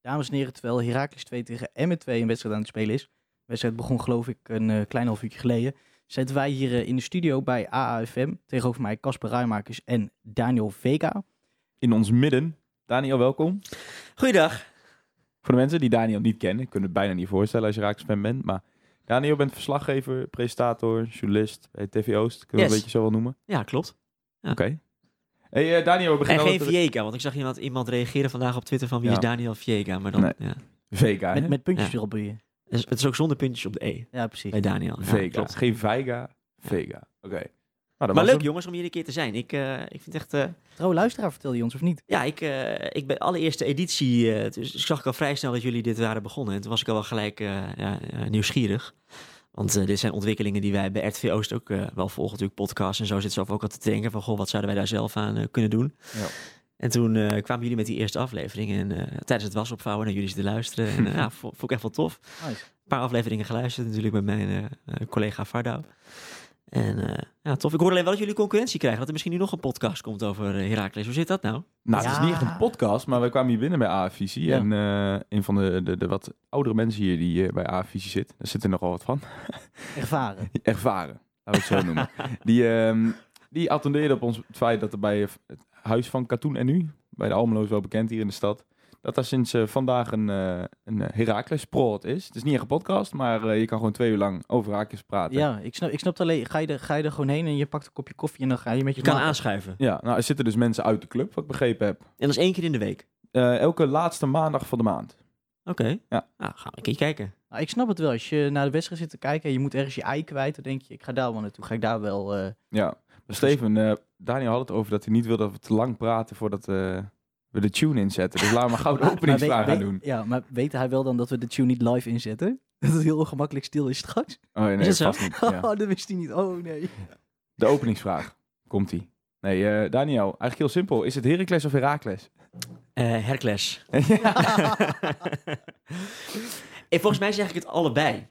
Dames en heren, terwijl Heracles 2 tegen Emmen 2 een wedstrijd aan het spelen is. De wedstrijd begon geloof ik een eh, klein half uurtje geleden. Zitten wij hier eh, in de studio bij AAFM. Tegenover mij Casper Ruimakers en Daniel Vega. in ons midden. Daniel, welkom. Goeiedag. Voor de mensen die Daniel niet kennen, kunnen het bijna niet voorstellen als je Raaks fan bent. Maar Daniel bent verslaggever, presentator, journalist bij TV Oost. Kunnen we Yes. een beetje zo wel noemen? Ja, klopt. Ja. Oké. Hey, eh, Daniel, we En beginnen geen altijd met- Viega, want ik zag iemand, iemand reageren vandaag op Twitter van wie Ja. is Daniel Viega. Maar dan, Nee. ja. Vega. hè? Met, met puntjes Ja. erop bij je. Dus het is ook zonder puntjes op de E Ja, precies. bij Daniel. Ja, Vega. klopt. Geen Vega. Vega. Oké. Nou, dat was Maar leuk hem. jongens om hier een keer te zijn. Ik, eh, ik vind echt... eh, Trouw luisteraar vertelde je ons of niet? ja, ik, eh, ik ben allereerste editie... eh, dus ik zag ik al vrij snel dat jullie dit waren begonnen. En toen was ik al wel gelijk eh, ja, eh, nieuwsgierig. Want eh, dit zijn ontwikkelingen die wij bij RTV Oost ook eh, wel volgen. Natuurlijk podcasts en zo zitten ze ook altijd te denken van... Goh, wat zouden wij daar zelf aan eh, kunnen doen? Ja. En toen eh, kwamen jullie met die eerste aflevering. En eh, tijdens het was opvouwen naar jullie zitten luisteren. En eh, ja, vo- vond ik echt wel tof. Nice. Een paar afleveringen geluisterd natuurlijk met mijn eh, eh, collega Vardouw. En eh, ja, tof. Ik hoor alleen wel dat jullie concurrentie krijgen. Dat er misschien nu nog een podcast komt over eh, Heracles. Hoe zit dat nou? Nou, het is niet Ja. echt een podcast, maar wij kwamen hier binnen bij AFvisie. Ja. En eh, een van de, de, de wat oudere mensen hier die eh, bij AFvisie zit, daar zit er nogal wat van. Ervaren. ervaren, laten we het zo noemen. Die, ehm die attendeerde op ons het feit dat er bij eh, het huis van Katoen en nu, bij de Almeloos wel bekend hier in de stad, dat daar sinds eh, vandaag een, eh een Herakles Prot is. Het is niet echt een podcast, maar eh, je kan gewoon twee uur lang over Herakles praten. Ja, ik snap, ik snap het alleen. Ga je, er, ga je er gewoon heen en je pakt een kopje koffie en dan ga je met je Je kan maat- aanschuiven. Ja, nou er zitten dus mensen uit de club, wat ik begrepen heb. En dat is één keer in de week. Eh, elke laatste maandag van de maand. Oké. Ja. Nou, gaan we een keer kijken. Nou, ik snap het wel. Als je naar de wedstrijd zit te kijken en je moet ergens je ei kwijt, dan denk je, ik ga daar wel naartoe. Ga ik daar wel... eh, Ja. Maar Steven, eh, Daniel had het over dat hij niet wil dat we te lang praten voordat eh, we de tune inzetten. Dus laten we maar gauw de Maar- maar openingsvraag weet- gaan doen. weet- Ja, maar weet hij wel dan dat we de tune niet live inzetten? Dat het heel ongemakkelijk stil is straks? Oh nee, Is het zo? vast niet. Ja. Oh, dat wist hij niet. Oh, nee. De openingsvraag. Komt ie. Nee, eh, Daniel, eigenlijk heel simpel. Is het Heracles of Herakles? Eh Heracles. en Eh, volgens mij zeg ik het allebei.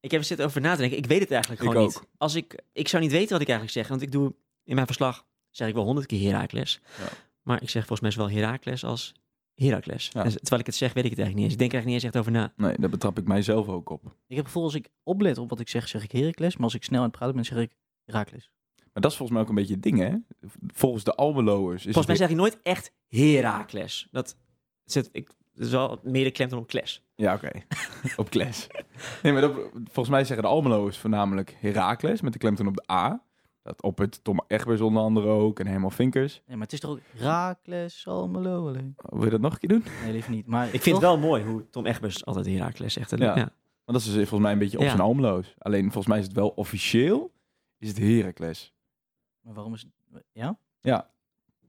Ik heb er zitten over na te denken. Ik weet het eigenlijk Ik gewoon ook. niet. Als ik, ik zou niet weten wat ik eigenlijk zeg. Want ik doe in mijn verslag zeg ik wel honderd keer Herakles. Ja. Maar ik zeg volgens mij zowel Herakles als Herakles. Ja. En terwijl ik het zeg, weet ik het eigenlijk niet eens. Ik denk er eigenlijk niet eens echt over na. Nee, daar betrap ik mijzelf ook op. Ik heb het gevoel als ik oplet op wat ik zeg, zeg ik Heracles. Maar als ik snel aan het praten ben, zeg ik Heracles. Maar dat is volgens mij ook een beetje het ding, hè? Volgens de Almeloers is Volgens mij het... zeg ik nooit echt Herakles. Dat zit, ik, dat is wel meer de klem dan op kles. Ja, oké. op kles. Nee, maar dat- volgens mij zeggen de Almeloers voornamelijk Herakles, met de klemtoon op de A. Dat op het Tom Egbers onder andere ook en Herman Vinkers. Nee, maar het is toch ook Heracles Almelo alleen? Wil je dat nog een keer doen? Nee, liever niet. Maar Ik vind het wel mooi hoe Tom Egbers altijd Herakles zegt. En- Ja. ja. Want dat is dus volgens mij een beetje op Ja. zijn Almeloos. Alleen volgens mij is het wel officieel, is het Herakles. Maar waarom is het... Ja?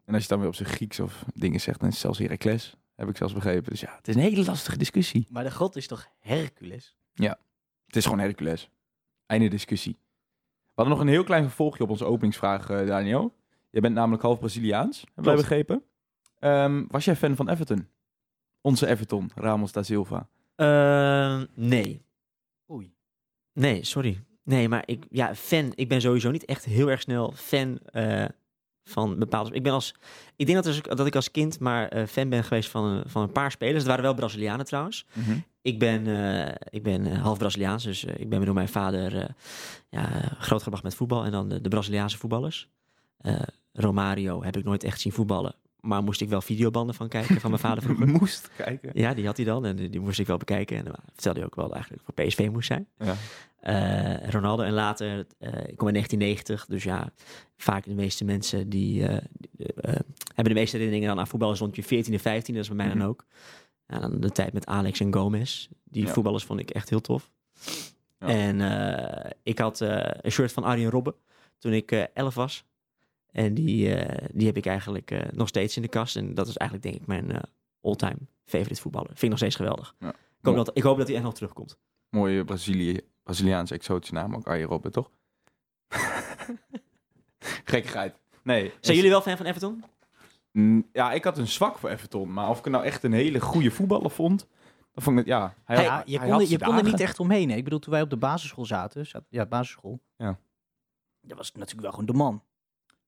En als je dan weer op zijn Grieks of dingen zegt, dan is het zelfs Heracles. Heb ik zelfs begrepen. Dus ja, het is een hele lastige discussie. Maar de god is toch Hercules? Het is gewoon Hercules. Einde discussie. We hadden nog een heel klein vervolgje op onze openingsvraag, eh, Daniel. Jij bent namelijk half Braziliaans, hebben wij Klopt. begrepen. Ehm, was jij fan van Everton? Onze Everton, Ramos da Silva. Ehm, nee. Oei. Nee, sorry. Nee, maar ik, ja, fan. Ik ben sowieso niet echt heel erg snel fan eh, van bepaalde. Ik ben als, ik denk dat, als, ik- dat ik als kind maar eh, fan ben geweest van, een- van een paar spelers. Het waren wel Brazilianen trouwens. Mhm. Ik ben, eh, ik ben eh, half Braziliaans, dus eh, ik ben door mijn vader eh, ja, eh, grootgebracht met voetbal. En dan de, de Braziliaanse voetballers. Eh, Romario heb ik nooit echt zien voetballen, maar moest ik wel videobanden van kijken van mijn vader vroeger. Moest kijken. Ja, die had hij dan en die die moest ik wel bekijken. En dan vertelde hij ook wel eigenlijk voor PSV moest zijn. Ja. Eh, Ronaldo en later, eh, ik kom in 1990, dus ja, vaak de meeste mensen die, eh, die, eh, eh, hebben de meeste herinneringen dan aan voetbal is rond je 14e, 15e, dat is bij mij Mhm. dan ook. Ja, dan de tijd met Alex en Gomez, die Ja. voetballers vond ik echt heel tof. Ja. En eh, ik had eh, een shirt van Arjen Robben toen ik eh, 11 was. En die, eh, die heb ik eigenlijk eh, nog steeds in de kast. En dat is eigenlijk denk ik mijn eh, all-time favorite voetballer. Vind ik nog steeds geweldig. Ja. Ik, hoop dat, ik hoop dat hij echt nog terugkomt. Mooie Brazilië, Braziliaanse exotische naam, ook Arjen Robben, toch? Gekkigheid. Nee. Zijn jullie wel fan van Everton? Mm, Ja, ik had een zwak voor Everton. Maar of ik het nou echt een hele goede voetballer vond, dan vond ik het, ja. Hij ja, had- je hij kon, had er- je zijn kon er dagen. niet echt omheen. Hè? Ik bedoel, toen wij op de basisschool zaten, zat- ja, basisschool. Ja. Dat was natuurlijk wel gewoon de man.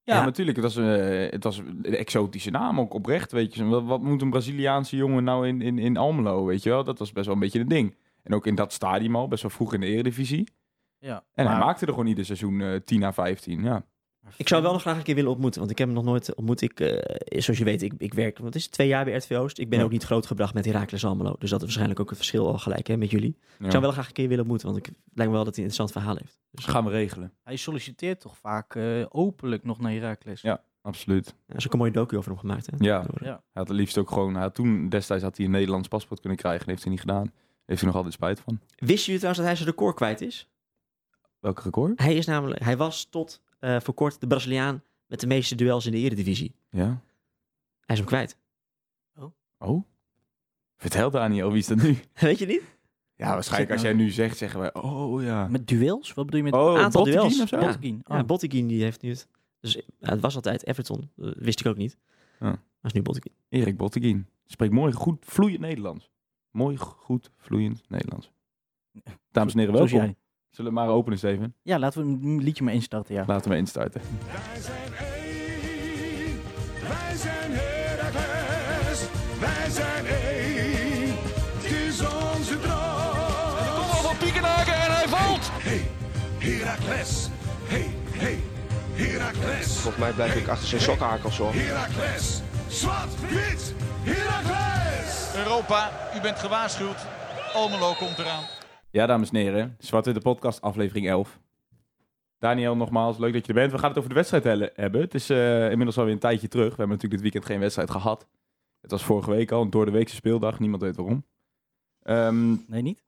Ja, Ja. natuurlijk. Het was, eh, het was een exotische naam ook oprecht, weet je. Wat, wat moet een Braziliaanse jongen nou in, in, in Almelo, weet je wel? Dat was best wel een beetje het ding. En ook in dat stadium al, best wel vroeg in de eredivisie. Ja. En hij Maar- maakte er gewoon ieder seizoen eh 10 à 15, ja. Ik zou hem wel nog graag een keer willen ontmoeten, want ik heb hem nog nooit ontmoet. Ik, eh, zoals je weet, ik, ik werk wat is het, twee jaar bij RTV Oost. Ik ben Ja. ook niet grootgebracht met Heracles Almelo. Dus dat is waarschijnlijk ook het verschil al gelijk hè, met jullie. ja. Ik zou hem wel graag een keer willen ontmoeten, want ik het lijkt me wel dat hij een interessant verhaal heeft. Gaan we regelen. Hij solliciteert toch vaak eh, openlijk nog naar Heracles. Ja. Absoluut. Ja, Er is ook een mooie docu over hem gemaakt. Hè? Ja. Door, eh, Ja. Hij had het liefst ook gewoon... Hij had toen, destijds had hij een Nederlands paspoort kunnen krijgen. Dat heeft hij niet gedaan. Heeft hij nog altijd spijt van. Wist jullie trouwens dat hij zijn record kwijt is? Welk record? Hij, is namelijk, hij was tot eh, voor kort de Braziliaan met de meeste duels in de Eredivisie. Ja. Hij is hem kwijt. Oh? Vertel Daniel, wie is dat nu? Weet je niet? Ja, nou. waarschijnlijk als jij nu zegt, zeggen wij... Oh ja. Met duels? Wat bedoel je met Oh, aantal Botteguin duels. of zo? Ja. Botkin? Ja, Oh. Ah, Botteguin die heeft nu het. Dus eh, het was altijd Everton. Eh, wist ik ook niet. Ja. Maar is nu Botteguin. Erik Botteguin. Spreekt mooi, goed, vloeiend Nederlands. Mooi, goed, vloeiend Nederlands. Dames en heren, Zoals welkom. jij. Zullen we maar openen, Steven? Ja, laten we een liedje maar instarten, ja. Laten we instarten. Wij zijn één, wij zijn Heracles, wij zijn één, het is onze droom. Kopbal van Piekenhaken en hij valt. Hey, Heracles, hey, hey, Heracles, Volgens mij blijf ik achter zijn sokhakels hoor. Heracles, zwart-wit, Heracles. Europa, u bent gewaarschuwd. Almelo komt eraan. Ja, dames en heren. Zwarte de podcast, aflevering 11. Daniel, nogmaals, leuk dat je er bent. We gaan het over de wedstrijd helle- hebben. Het is eh, inmiddels alweer een tijdje terug. We hebben natuurlijk dit weekend geen wedstrijd gehad. Het was vorige week al, een door de weekse speeldag. Niemand weet waarom. Ehm, Nee, niet?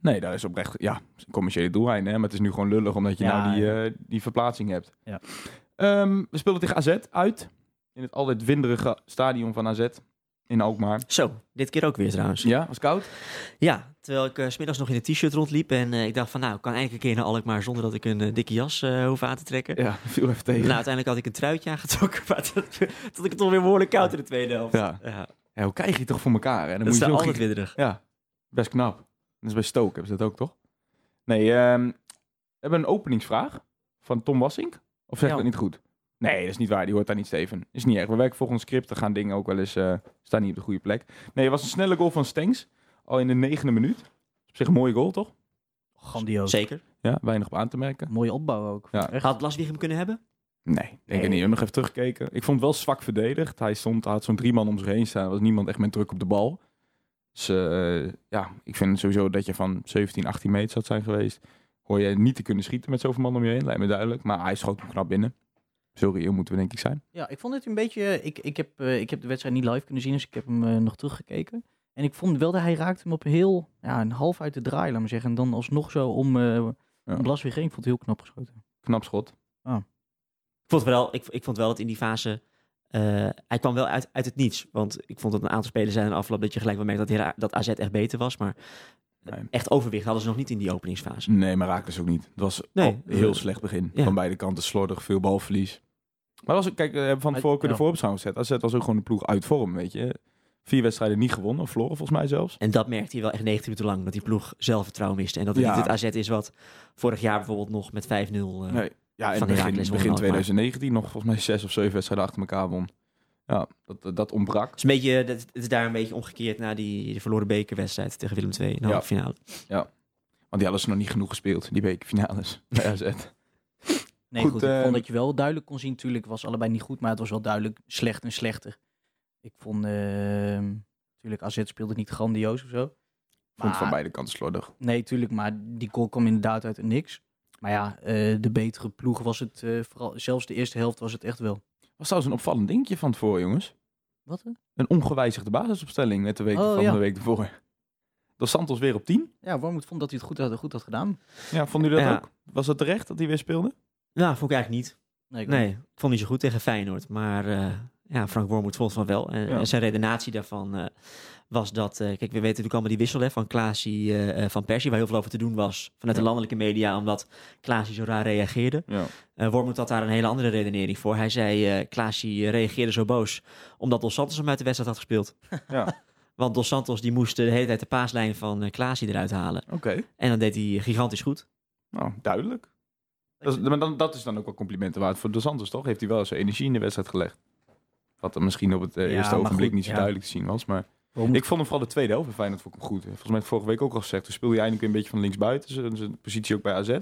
nee, daar is oprecht, ja, is een commerciële doeleinde. Hè? Maar het is nu gewoon lullig, omdat je Ja, nou die, ja. eh, die verplaatsing hebt. Ja. Ehm, we speelden tegen AZ uit. In het altijd winderige stadion van AZ. In Alkmaar. Zo, dit keer ook weer trouwens. Ja, was koud. Ja, terwijl ik eh, 's smiddags nog in een t-shirt rondliep. En eh, ik dacht van nou, ik kan eigenlijk een keer naar Alkmaar zonder dat ik een eh, dikke jas eh, hoef aan te trekken. Ja, viel even tegen. Nou, uiteindelijk had ik een truitje aangetrokken, maar dat, dat ik het toch weer behoorlijk koud in de tweede helft. Ja. Ja, hoe krijg je het toch voor elkaar? Hè? Dan dat moet is je daar zo'n altijd winderig. Ja, best knap. Dat is bij Stoke hebben ze dat ook, toch? Nee, ehm, we hebben een openingsvraag van Tom Wassink. Of zeg ik Ja. dat niet goed? Nee, dat is niet waar. Die hoort daar niet, Steven. Is niet erg. We werken volgens script. Dan gaan dingen ook wel eens... eh, staan niet op de goede plek. Nee, het was een snelle goal van Stengs. Al in de negende minuut. Op zich een mooie goal, toch? Grandioos. Zeker. Ja, weinig op aan te merken. Mooie opbouw ook. Ja. Echt. Had Blaswieg hem kunnen hebben? Nee, denk ik niet. We hebben nog even teruggekeken. Ik vond het wel zwak verdedigd. Hij stond, hij had zo'n drie man om zich heen staan. Er was niemand echt met druk op de bal. Dus eh, ja, ik vind sowieso dat je van 17, 18 meter zou zijn geweest. Hoor je niet te kunnen schieten met zoveel man om je heen. Lijkt me duidelijk. Maar hij schoot hem knap binnen. Sorry, heel moeten we denk ik zijn. Ja, ik vond het een beetje... Ik, ik, heb, eh, ik heb de wedstrijd niet live kunnen zien, dus ik heb hem eh, nog teruggekeken. En ik vond wel dat hij raakte hem op heel... Ja, een half uit de draai, laat maar zeggen. En dan alsnog zo om eh Ja. om Blas weer heen. Ik vond het heel knap geschoten. Knap schot. Ik vond wel, ik, ik vond wel dat in die fase... eh, hij kwam wel uit, uit het niets. Want ik vond dat een aantal spelers zijn in de afloop... dat je gelijk wel merkt dat, Hera- dat AZ echt beter was. Maar Nee. echt overwicht hadden ze nog niet in die openingsfase. Nee, maar raakte ze ook niet. Het was Nee. al een oh, heel slecht begin. Ja. Van beide kanten slordig, veel balverlies. Maar was ook, kijk, we hebben van tevoren ook weer de Ja. voorbeschouwing gezet. AZ was ook gewoon een ploeg uit vorm, weet je. Vier wedstrijden niet gewonnen, of verloren volgens mij zelfs. En dat merkte hij wel echt 90 minuten lang. Dat die ploeg zelfvertrouwen miste. En dat het Ja. niet het AZ is wat vorig jaar bijvoorbeeld nog met 5-0... eh, Nee. Ja, in Van begin, Heracles begin won ook, maar- 2019 nog volgens mij zes of zeven wedstrijden achter elkaar won. Ja, dat, dat, dat ontbrak. Het is, een beetje, dat- het is daar een beetje omgekeerd na die verloren bekerwedstrijd tegen Willem II in de Ja. halve finale. Want die hadden ze nog niet genoeg gespeeld, die bekerfinales bij AZ. Nee, Goed, goed. eh, ik vond dat je wel duidelijk kon zien. Natuurlijk was allebei niet goed, maar het was wel duidelijk slecht en slechter. Ik vond... eh, Natuurlijk, AZ speelde niet grandioos of zo. Vond van Maar- beide kanten slordig. Nee, tuurlijk, maar die goal kwam inderdaad uit het niks. Maar ja, eh, de betere ploeg was het, eh, vooral, zelfs de eerste helft was het echt wel. Was trouwens een opvallend dingetje van tevoren, jongens. Wat? hè? Een ongewijzigde basisopstelling net de week Oh, van ja. de week ervoor. Dos Santos weer op 10. Ja, Wormoed vond dat hij het goed had, goed had gedaan. Ja, vonden jullie dat Ja. ook? Was dat terecht dat hij weer speelde? Nou, vond ik eigenlijk niet. Nee, ik ook Nee, niet. ik vond niet zo goed tegen Feyenoord. Maar eh, ja, Frank Wormoed vond van wel. En, Ja. en zijn redenatie daarvan eh, was dat... eh, kijk, we weten natuurlijk allemaal die wissel hè, van Klaasie eh, eh, van Persie... waar heel veel over te doen was vanuit de landelijke media... omdat Klaasie zo raar reageerde. Ja. Eh Wormoed had daar een hele andere redenering voor. Hij zei, eh Klaasie reageerde zo boos... omdat Dos Santos hem uit de wedstrijd had gespeeld. Ja. Want Dos Santos die moest de hele tijd de paaslijn van eh Klaasie eruit halen. Oké. En dat deed hij gigantisch goed. Nou, duidelijk. Dat is, maar dan, dat is dan ook wel complimenten waard voor De Santos, toch? Heeft hij wel zijn energie in de wedstrijd gelegd. Wat er misschien op het eh, Ja, eerste maar ogenblik goed, niet zo ja. duidelijk te zien was. Maar Waarom- ik vond hem vooral de tweede helft bij Feyenoord vond ik hem goed. Volgens mij heb ik vorige week ook al gezegd. Toen speelde hij eindelijk weer een beetje van linksbuiten. Zijn, zijn positie ook bij AZ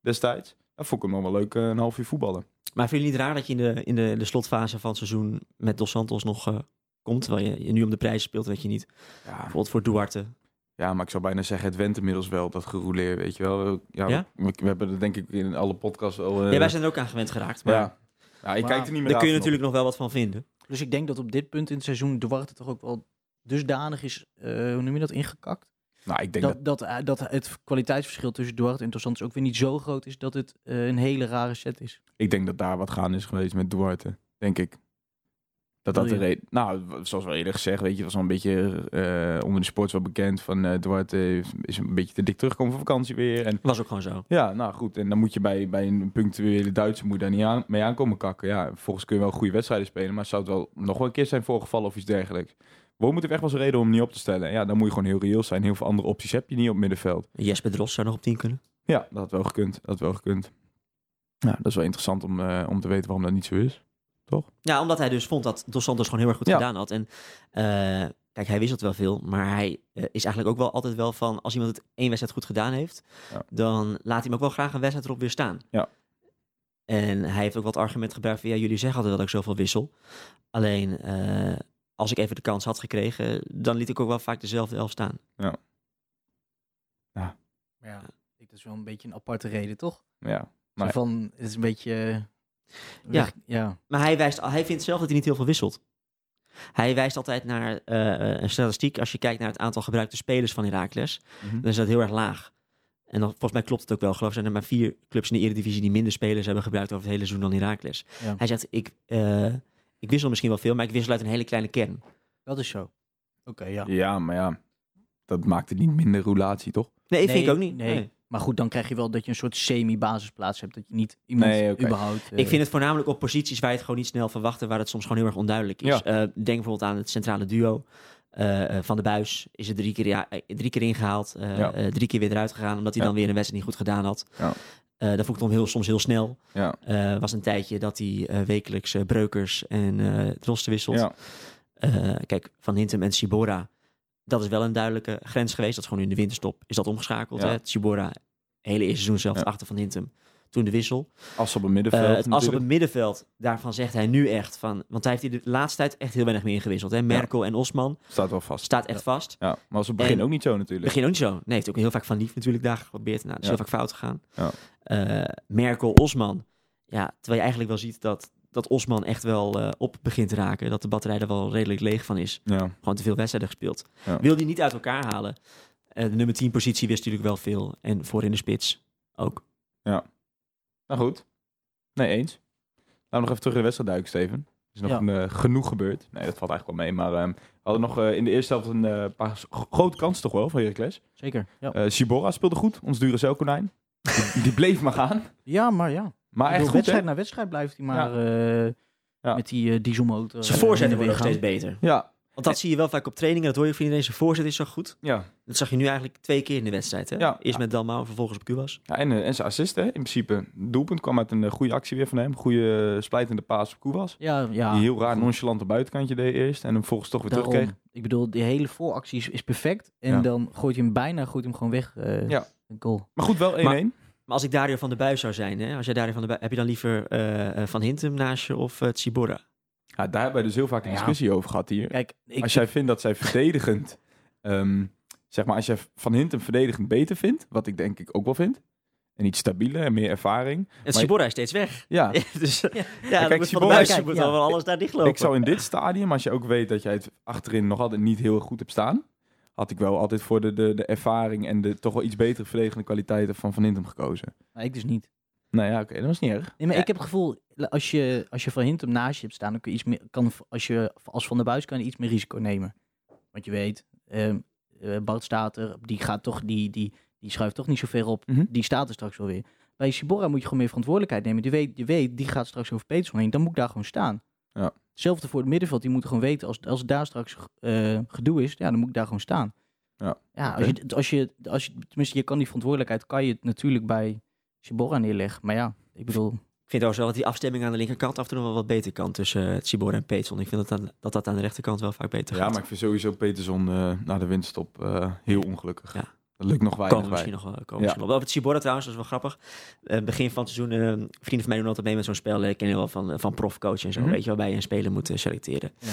destijds. Daar vond ik hem nog wel leuk eh, een half uur voetballen. Maar vind je het niet raar dat je in de, in de, de slotfase van het seizoen met Dos Santos nog eh, komt? Terwijl je, je nu om de prijzen speelt, weet je niet. Ja, Eh, Bijvoorbeeld voor Duarte. Ja, maar ik zou bijna zeggen, het went inmiddels wel, dat gerouleer, weet je wel. Ja, Ja? We, we hebben er denk ik in alle podcasts al... eh, ja, wij zijn er ook aan gewend geraakt. Maar ja. Ja, ik Maar kijk er niet meer daar kun je raar van op. natuurlijk nog wel wat van vinden. Dus ik denk dat op dit punt in het seizoen Duarte toch ook wel dusdanig is, eh, hoe noem je dat, ingekakt. Nou, ik denk dat... Dat, dat, eh, dat het kwaliteitsverschil tussen Duarte en Dos Santos ook weer niet zo groot is dat het eh, een hele rare set is. Ik denk dat daar wat gaan is geweest met Duarte, denk ik. Dat dat Wil de je? reden... Nou, zoals we eerder gezegd, weet je, was al een beetje eh, onder de sports wel bekend van eh Duarte is een beetje te dik terugkomen van vakantie weer. En Was ook gewoon zo. ja, nou goed, en dan moet je bij, bij een punctuele Duitse moet je daar niet aan, mee aankomen kakken. Ja, volgens kun je wel goede wedstrijden spelen, maar zou het wel nog wel een keer zijn voorgevallen of iets dergelijks. Waarom moet er echt wel eens een reden om hem niet op te stellen? Ja, dan moet je gewoon heel reëel zijn. Heel veel andere opties heb je niet op middenveld. Jesper Drost zou nog op 10 kunnen. Ja, dat had wel gekund. Dat had wel gekund. Ja, dat is wel interessant om, eh, om te weten waarom dat niet zo is. Ja, omdat hij dus vond dat Dos Santos gewoon heel erg goed Ja. gedaan had. En eh, kijk, hij wisselt wel veel. Maar hij eh, is eigenlijk ook wel altijd wel van... als iemand het één wedstrijd goed gedaan heeft... Ja. dan laat hij hem ook wel graag een wedstrijd erop weer staan. Ja. En hij heeft ook wat argument gebruikt van... ja, jullie zeggen altijd dat ik zoveel wissel. Alleen, eh, als ik even de kans had gekregen... dan liet ik ook wel vaak dezelfde elf staan. Maar ja, ik denk dat is wel een beetje een aparte reden, toch? Ja. Zo Nee. Van, het is een beetje... eh, weg- ja. Maar hij, wijst, hij vindt zelf dat hij niet heel veel wisselt. Hij wijst altijd naar eh, een statistiek. Als je kijkt naar het aantal gebruikte spelers van Heracles... dan is dat heel erg laag. En dan, volgens mij klopt het ook wel. Geloof ik, zijn er maar vier clubs in de Eredivisie die minder spelers hebben gebruikt over het hele seizoen dan Heracles. Ja. Hij zegt, ik, eh, ik wissel misschien wel veel, maar ik wissel uit een hele kleine kern. dat is zo. Oké, ja. ja, maar ja. Dat maakt het niet minder roulatie, toch? Nee, Nee, vind ik ook niet. nee. Nee. Maar goed, dan krijg je wel dat je een soort semi-basisplaats hebt. Dat je niet iemand Nee, oké. überhaupt... eh, Ik vind het voornamelijk op posities waar je het gewoon niet snel verwacht en waar het soms gewoon heel erg onduidelijk is. Ja. Eh, denk bijvoorbeeld aan het centrale duo. Eh, eh, van de Buis is er drie keer, ja, eh, drie keer ingehaald, eh, Ja. eh, drie keer weer eruit gegaan, omdat hij Ja. dan weer een wedstrijd niet goed gedaan had. Ja. Eh, dat vond ik dan heel, soms heel snel. Ja. Eh, was een tijdje dat hij eh, wekelijks eh, Breukers en eh Drosten wisselt. Ja. Eh, kijk, Van Hintem en Sibora, dat is wel een duidelijke grens geweest. Dat is gewoon in de winterstop is dat omgeschakeld. Ja. Hè? Sibora, hele eerste seizoen zelf Ja. achter Van Hintem. Toen de wissel. As op het middenveld. Eh het as op natuurlijk. het middenveld, daarvan zegt hij nu echt van... Want hij heeft hier de laatste tijd echt heel weinig meer ingewisseld. Hè? Merkel en Osman Staat wel vast. staat echt vast. Ja, maar was op het begin En- ook niet zo natuurlijk. Begin ook niet zo. Nee, heeft ook heel vaak van lief natuurlijk daar geprobeerd. Nou, dat is Ja. heel vaak fout gegaan. Ja. Eh, Merkel, Osman. Ja, terwijl je eigenlijk wel ziet dat, dat Osman echt wel eh, op begint te raken. Dat de batterij er wel redelijk leeg van is. Ja. Gewoon te veel wedstrijden gespeeld. Ja. Wil die niet uit elkaar halen. Eh, de nummer 10 positie wist natuurlijk wel veel. En voor in de spits ook. Nou goed. Nee, eens. Laten we nog even terug in de wedstrijd duiken, Steven. Er is nog Ja. een, eh, genoeg gebeurd. Nee, dat valt eigenlijk wel mee. Maar ehm, we hadden nog eh, in de eerste helft een eh, paar s- grote kansen toch wel van Heracles. Zeker, ja. Eh Sibora speelde goed. Ons dure zeilkonijn. die, die bleef maar gaan. ja, maar ja. Maar Ik bedoel, echt goed, hè? wedstrijd na wedstrijd blijft hij maar eh, Ja. met die eh, dieselmotor. Zijn eh, voorzetten heen worden en nog weer steeds beter. Ja, Want dat zie je wel vaak op trainingen. Dat hoor je van iedereen. Zijn voorzet is zo goed. ja. Dat zag je nu eigenlijk twee keer in de wedstrijd. Hè? Ja. Eerst met Dalmau en vervolgens op Cubas. Ja, en, eh, en zijn assist, hè, in principe. Doelpunt kwam uit een eh, goede actie weer van hem. Goede eh, splijtende paas op Koewas. gaan. Ja, ja. Die heel raar nonchalant de buitenkantje deed eerst. En hem volgens toch weer daarom. terugkreeg. Ik bedoel, die hele vooractie is, is perfect. En Ja. dan gooit hij hem bijna, gooit hij hem gewoon weg. eh, Ja. Een goal. Maar goed, wel 1-1. Maar als ik Dario van der Buis zou zijn. Hè? Als jij Dario van der Buis, heb je dan liever eh, eh, Van Hintem naast je of eh Tsibora? Ja, daar hebben we dus heel vaak een Ja. discussie over gehad hier. Kijk, ik, als jij vindt dat zij verdedigend... ehm, zeg maar, als jij Van Hintem verdedigend beter vindt. Wat ik denk ik ook wel vind. En iets stabieler en meer ervaring. En Tsibora is steeds weg. Ja, dus ja, kijk, dan moet Van Tsibora der Buis is- moet ja. dan wel alles daar dichtlopen. ik zou in dit stadium, als je ook weet dat jij het achterin nog altijd niet heel erg goed hebt staan... Had ik wel altijd voor de, de, de ervaring en de toch wel iets betere verdedigende kwaliteiten van Van Hintem gekozen. nou, ik dus niet. Nou ja, oké, dat was niet erg. Nee, maar ik heb het gevoel, la- als je, als je van Hintem naast je hebt staan, dan kun je iets meer, kan, als je als van de buis kan je iets meer risico nemen. Want je weet, ehm, eh, Bart staat er, die, gaat toch, die, die, die schuift toch niet zoveel op. Mhm. Die staat er straks wel weer. Bij Sibora moet je gewoon meer verantwoordelijkheid nemen. Die weet, je weet, die gaat straks over Peterson heen, dan moet ik daar gewoon staan. Ja. Hetzelfde voor het middenveld, die moeten gewoon weten, als, als het daar straks eh, gedoe is, ja, dan moet ik daar gewoon staan. Ja. ja als, je, als, je, als je, tenminste, je kan die verantwoordelijkheid, kan je het natuurlijk bij Shibora neerleg. Maar ja, ik bedoel, Ik vind trouwens wel dat die afstemming aan de linkerkant af en toe nog wel wat beter kan tussen eh Cibor en Peetson. Ik vind dat aan, dat, dat aan de rechterkant wel vaak beter Ja, gaat. maar ik vind sowieso Peterson eh, na de winststop eh, heel ongelukkig. Ja. Dat lukt nog weinig Komen bij. misschien nog wel. Komen misschien nog wel. Op het Cibora trouwens, dat is wel grappig. Eh, begin van het seizoen, eh, vrienden van mij doen altijd mee met zo'n spel. Eh, Ik ken je wel van, eh, van profcoach en zo, Mhm. weet je, waarbij je een speler moet eh, selecteren. Ja.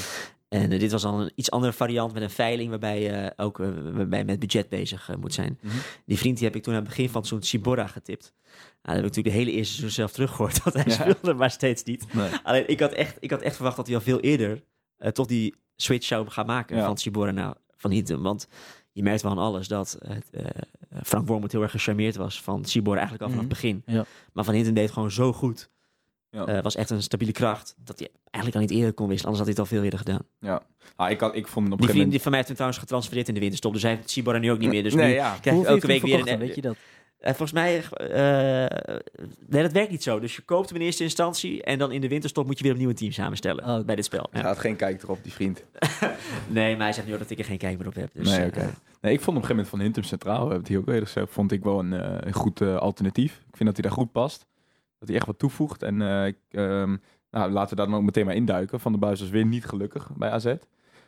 En eh, dit was dan een iets andere variant met een veiling waarbij je ook eh, waarbij je met budget bezig eh, moet zijn. Mhm. Die vriend die heb ik toen aan het begin van het seizoen Cibora getipt. Nou, dat heb ik natuurlijk de hele eerste seizoen zelf teruggehoord dat hij speelde, maar steeds niet. Nee. Alleen ik had echt, ik had echt verwacht dat hij al veel eerder eh, toch die switch zou gaan maken Ja. van Sibora naar Van Hintem. Want je merkt wel aan alles dat het, eh, Frank Wormoed heel erg gecharmeerd was van Sibora eigenlijk al vanaf Mhm. het begin. Ja. Maar Van Hintem deed het gewoon zo goed. Ja. Eh, was echt een stabiele kracht dat hij eigenlijk al niet eerder kon wisselen. Anders had hij het al veel eerder gedaan. Ah, ik, had, ik vond hem op Die een gegeven vriend moment... die van mij heeft hem trouwens getransfereerd in de winterstop. Dus hij heeft Sibora nu ook niet meer. Dus nee, nu ja. krijg je hoeveel elke heeft week hij weer verkocht een... dan, weet je dat? Eh, volgens mij... eh, nee, dat werkt niet zo. Dus je koopt hem in eerste instantie. En dan in de winterstop moet je weer opnieuw een team samenstellen. Oh, oké. Bij dit spel. Ja. Hij had geen kijk erop, die vriend. Nee, maar hij zegt nu dat ik er geen kijk meer op heb. Dus, nee, eh, oké. Nee, ik vond op een gegeven moment van Hintem Centraal, we hebben het hier ook eerder gezegd, vond ik wel een, eh, een goed eh, alternatief. Ik vind dat hij daar goed past. Dat hij echt wat toevoegt. En eh, ik, ehm, nou, laten we daar dan ook meteen maar induiken. Van de Buis was weer niet gelukkig bij AZ.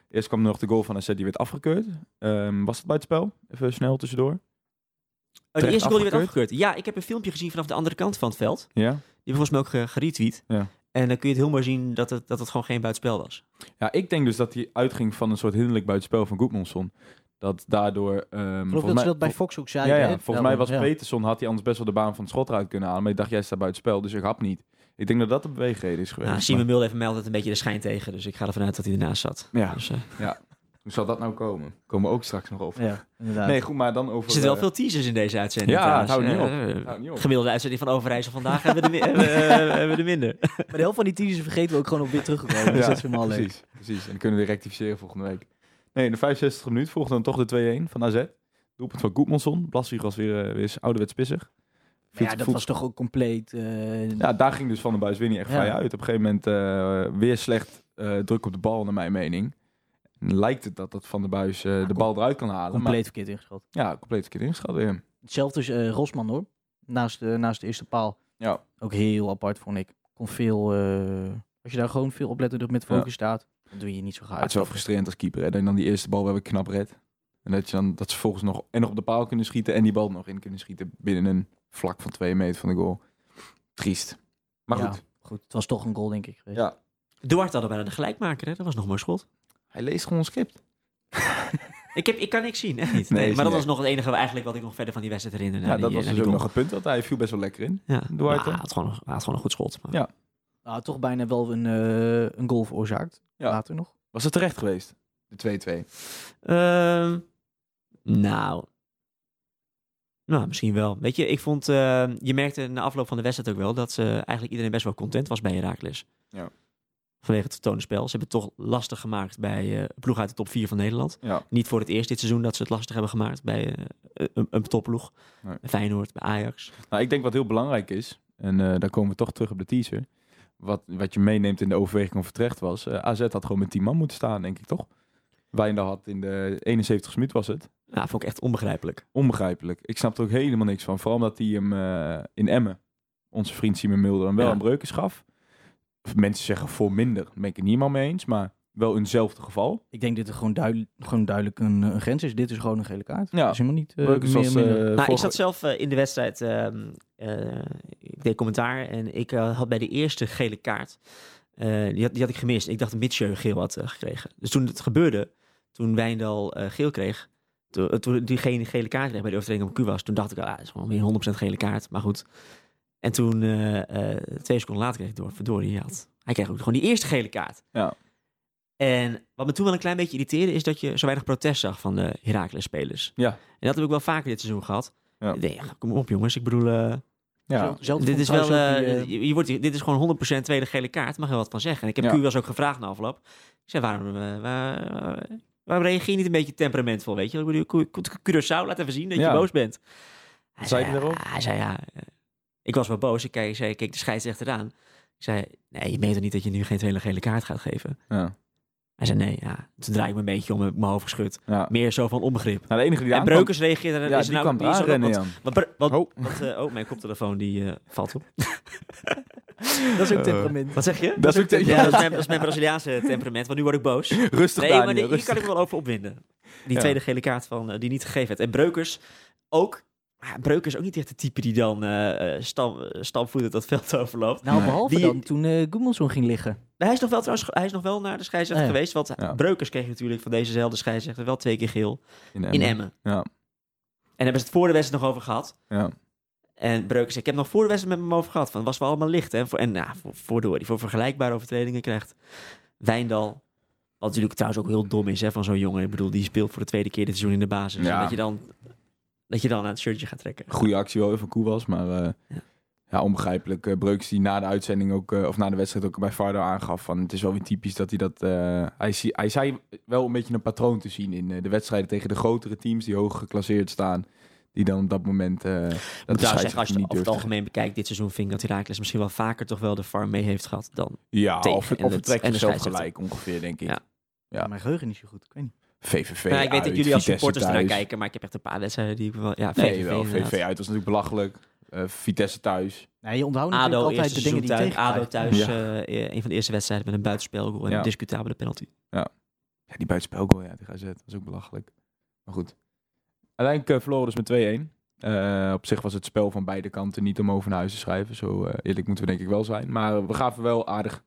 Eerst kwam nog de goal van AZ, die werd afgekeurd. Ehm, was het bij het spel? Even snel tussendoor. oh, de Terecht eerste goal die werd afgekeurd? afgekeurd. Ja, ik heb een filmpje gezien vanaf de andere kant van het veld. Ja. Die hebben volgens mij ook ge- geretweet. Ja. En dan kun je het heel mooi zien dat het, dat het gewoon geen buitenspel was. Ja, ik denk dus dat hij uitging van een soort hinderlijk buitenspel van Goedmanson. Dat daardoor... ehm Ik volgens geloof dat mij- ze dat bij vol- Fox ook ja, zeiden. ja, hè? volgens Ja, mij was ja. Peterson, had hij anders best wel de baan van het schot eruit kunnen halen. Maar ik dacht, jij staat buitenspel, dus ik hap niet. Ik denk dat dat de beweegreden is geweest. Nou, Simon Mulder heeft mij altijd een beetje de schijn tegen. Dus ik ga ervan uit dat hij ernaast zat. Ja. Dus, eh, Maar Hoe zal dat nou komen? Komen we ook straks nog over. Ja, inderdaad. Nee, goed, maar dan over... er zitten wel eh, veel teasers in deze uitzending. Ja, trouwens. het houdt niet op. Eh, eh, Het houdt niet op. Gemiddelde uitzending van Overijssel vandaag hebben we de, mi- hebben we, eh, hebben we de minder. Maar de helft van die teasers vergeten we ook gewoon op weer teruggekomen. Dus ja, dat is helemaal leuk. precies, precies. En dan kunnen we weer rectificeren volgende week. Nee, in de 65 minuut volgde dan toch de 2-1 van AZ. Doelpunt van Goedmanson. Blassie was weer, eh, weer eens ouderwets pissig. Maar ja, Voet- dat voet- was toch ook compleet... eh, Ja, daar ging dus Van der Buis weer niet echt Ja. vrij uit. Op een gegeven moment eh, weer slecht eh, druk op de bal, naar mijn mening. En lijkt het dat, dat Van der Buis eh, de kom- bal eruit kan halen. compleet verkeerd ingeschat. Maar, ja, compleet verkeerd ingeschat weer. Hetzelfde is eh, Rosman hoor. Naast de, naast de eerste paal. Ja. Ook heel apart vond ik. Kon veel... eh, als je daar gewoon veel oplettend op met focus Ja. staat, dan doe je niet zo Ja, gaaf. Ah, het is wel frustrerend als keeper. Hè? Dat je dan die eerste bal wel ik knap red. En dat, je dan, dat ze volgens nog en op de paal kunnen schieten en die bal nog in kunnen schieten binnen een vlak van twee meter van de goal. Triest. Maar Ja, goed, goed. Het was toch een goal, denk ik. geweest. Ja. Duarte hadden bijna de gelijkmaker. Hè? Dat was nog maar schot. hij leest gewoon een script. Ik, heb, ik kan niks zien. Echt niet. Nee, Nee, is maar dat niet was nog het enige eigenlijk wat ik nog verder van die wedstrijd herinnerde. Ja, na dat die, was eh, dus na ook die nog goal. een punt. Want hij viel best wel lekker in. Ja. Duarte. Maar hij had gewoon, nog- hij had gewoon een goed schot. Maar... Ja. Nou, toch bijna wel een, eh, een goal veroorzaakt. Ja. Later nog. Was het terecht geweest? De 2-2. Ehm, nou. Nou, misschien wel. Weet je, ik vond. eh, je merkte na afloop van de wedstrijd ook wel dat ze eigenlijk iedereen best wel content was bij Herakles. Ja. Vanwege het tonenspel. Ze hebben het toch lastig gemaakt bij eh een ploeg uit de top 4 van Nederland. Ja. Niet voor het eerst dit seizoen dat ze het lastig hebben gemaakt bij eh, een, een topploeg. Nee. Bij Feyenoord, bij Ajax. Nou, ik denk wat heel belangrijk is, en eh, daar komen we toch terug op de teaser. Wat, wat je meeneemt in de overweging of het terecht was. eh, AZ had gewoon met 10 man moeten staan, denk ik toch? Wijndal had in de 71 minuut was het. Nou, vond ik echt onbegrijpelijk. Onbegrijpelijk. Ik snap er ook helemaal niks van. Vooral omdat hij hem eh, in Emmen, onze vriend Simon Mulder, hem wel Ja. een breukens gaf. Of Mensen zeggen voor minder. Daar ben ik het niet helemaal mee eens. Maar wel in hetzelfde geval. Ik denk dat er gewoon, duidel- gewoon duidelijk een, eh, een grens is. Dit is gewoon een gele kaart. Ja. Dat is helemaal niet eh, Breukens meer, was... eh, minder. Nou, ik vorige- zat zelf eh, in de wedstrijd. ehm, eh, ik deed commentaar en ik eh, had bij de eerste gele kaart. eh, die, had, die had ik gemist. Ik dacht dat Mitchell geel had eh, gekregen. Dus toen het gebeurde, toen Wijndal eh, geel kreeg. Toen, eh, toen diegene gele kaart kreeg bij de overtreding op Q was. Toen dacht ik, ah, dat is gewoon weer 100% gele kaart. Maar goed. En toen, eh, eh, twee seconden later, kreeg ik door. Verdorie, hij, had, hij kreeg ook gewoon die eerste gele kaart. Ja. En wat me toen wel een klein beetje irriteerde, is dat je zo weinig protest zag van de Heracles-spelers. Ja. En dat heb ik wel vaker dit seizoen gehad. Ja. Nee, ja, kom op jongens, ik bedoel, eh, Ja. Zelfde dit vond is trouwens wel, ook die, eh, eh, je, je wordt, dit is gewoon 100% tweede gele kaart, mag je wat van zeggen. En ik heb Ja. Q wel eens ook gevraagd na afloop. Ik zei, waarom, eh, waar, waarom reageer je niet een beetje temperamentvol, weet je? Ik bedoel, Cu- Cu- Curaçao, laat even zien dat Ja. je boos bent. Hij zei hij ja, daarop? Hij zei, ja, eh, ik was wel boos. Ik keek, zei, ik keek de scheidsrechter aan. Ik zei, nee, je meent toch niet dat je nu geen tweede gele kaart gaat geven? Ja. Hij zei nee, ja. Toen draai ik me een beetje om en heb ik mijn hoofd geschud. Ja. Meer zo van onbegrip. Nou, de enige die En aankwam- Breukers reageerde. ja, is er die nou, kwam die is er ook- aanrennen, want- Jan. Wat, bre- wat, Oh. wat, eh, oh, mijn koptelefoon die eh, valt op. Dat is ook temperament. Wat zeg je? Dat is ook tegen Ja, dat is, mijn, dat is mijn Braziliaanse temperament, want nu word ik boos. Nee, Rustig maar die- Daniel, hier kan rustig. ik me wel over opwinden. Die Ja. tweede gele kaart van, eh, die niet gegeven werd. En Breukers ook. Maar Breukers is ook niet echt de type die dan eh eh, stam, eh, stampvoetend dat veld overloopt. Nou, behalve Die- dan toen eh Goemelson ging liggen. Maar Hij is nog wel, trouwens, hij is nog wel naar de scheidsrechter Ja. geweest. Want Ja. Breukers kreeg natuurlijk van dezezelfde scheidsrechter wel twee keer geel in Emmen. eh, Ja. En hebben ze het voor de wedstrijd nog over gehad. Ja. En Breukers zei, ik heb nog voor de wedstrijd met hem over gehad. Van, was wel allemaal licht. Hè? Voor, en nou, voor, voor door, die voor vergelijkbare overtredingen krijgt Wijndal. Wat natuurlijk trouwens ook heel dom is hè, van zo'n jongen. Ik bedoel, die speelt voor de tweede keer dit seizoen in de basis. Ja. En Dat, je dan, dat je dan aan het shirtje gaat trekken. Goede actie wel even koe was, maar eh, Ja. ja. onbegrijpelijk. Eh, Breuks die na de uitzending ook, eh, of na de wedstrijd ook bij Vardo aangaf van het is wel weer typisch dat hij dat... eh, hij, zie- hij zei wel een beetje een patroon te zien in eh, de wedstrijden tegen de grotere teams die hoog geclasseerd staan. Die dan op dat moment... eh, dat Dat de zou zeggen, als je scheidsrechter het niet over het durft. algemeen bekijkt dit seizoen... vind ik dat Herakles misschien wel vaker toch wel de farm mee heeft gehad dan... Ja, tegen of, het- en of het- het trekt en de zichzelf scheidsrechter. gelijk ongeveer, denk ik. Ja. Ja. Mijn geheugen is niet zo goed. Ik weet niet. VVV Nou, ik weet dat uit, jullie als Vitesse supporters ernaar thuis. kijken, maar ik heb echt een paar wedstrijden die ik wel... Ja, Nee, VVV wel. inderdaad. VVV uit was natuurlijk belachelijk. Eh, Vitesse thuis. Nee, je onthoudt natuurlijk ADO altijd eerste de dingen die je seizoen thuis, ADO tegenkrijgt. thuis Ja. eh, een van de eerste wedstrijden met een buitenspelgoal en Ja. een discutabele penalty. Ja, die buitenspelgoal ja, tegen AZ. Dat is ook belachelijk. Maar goed. Uiteindelijk eh, verloren dus met 2-1. Eh, op zich was het spel van beide kanten niet om over naar huis te schrijven. Zo eh, eerlijk moeten we denk ik wel zijn. Maar eh, we gaven wel aardig...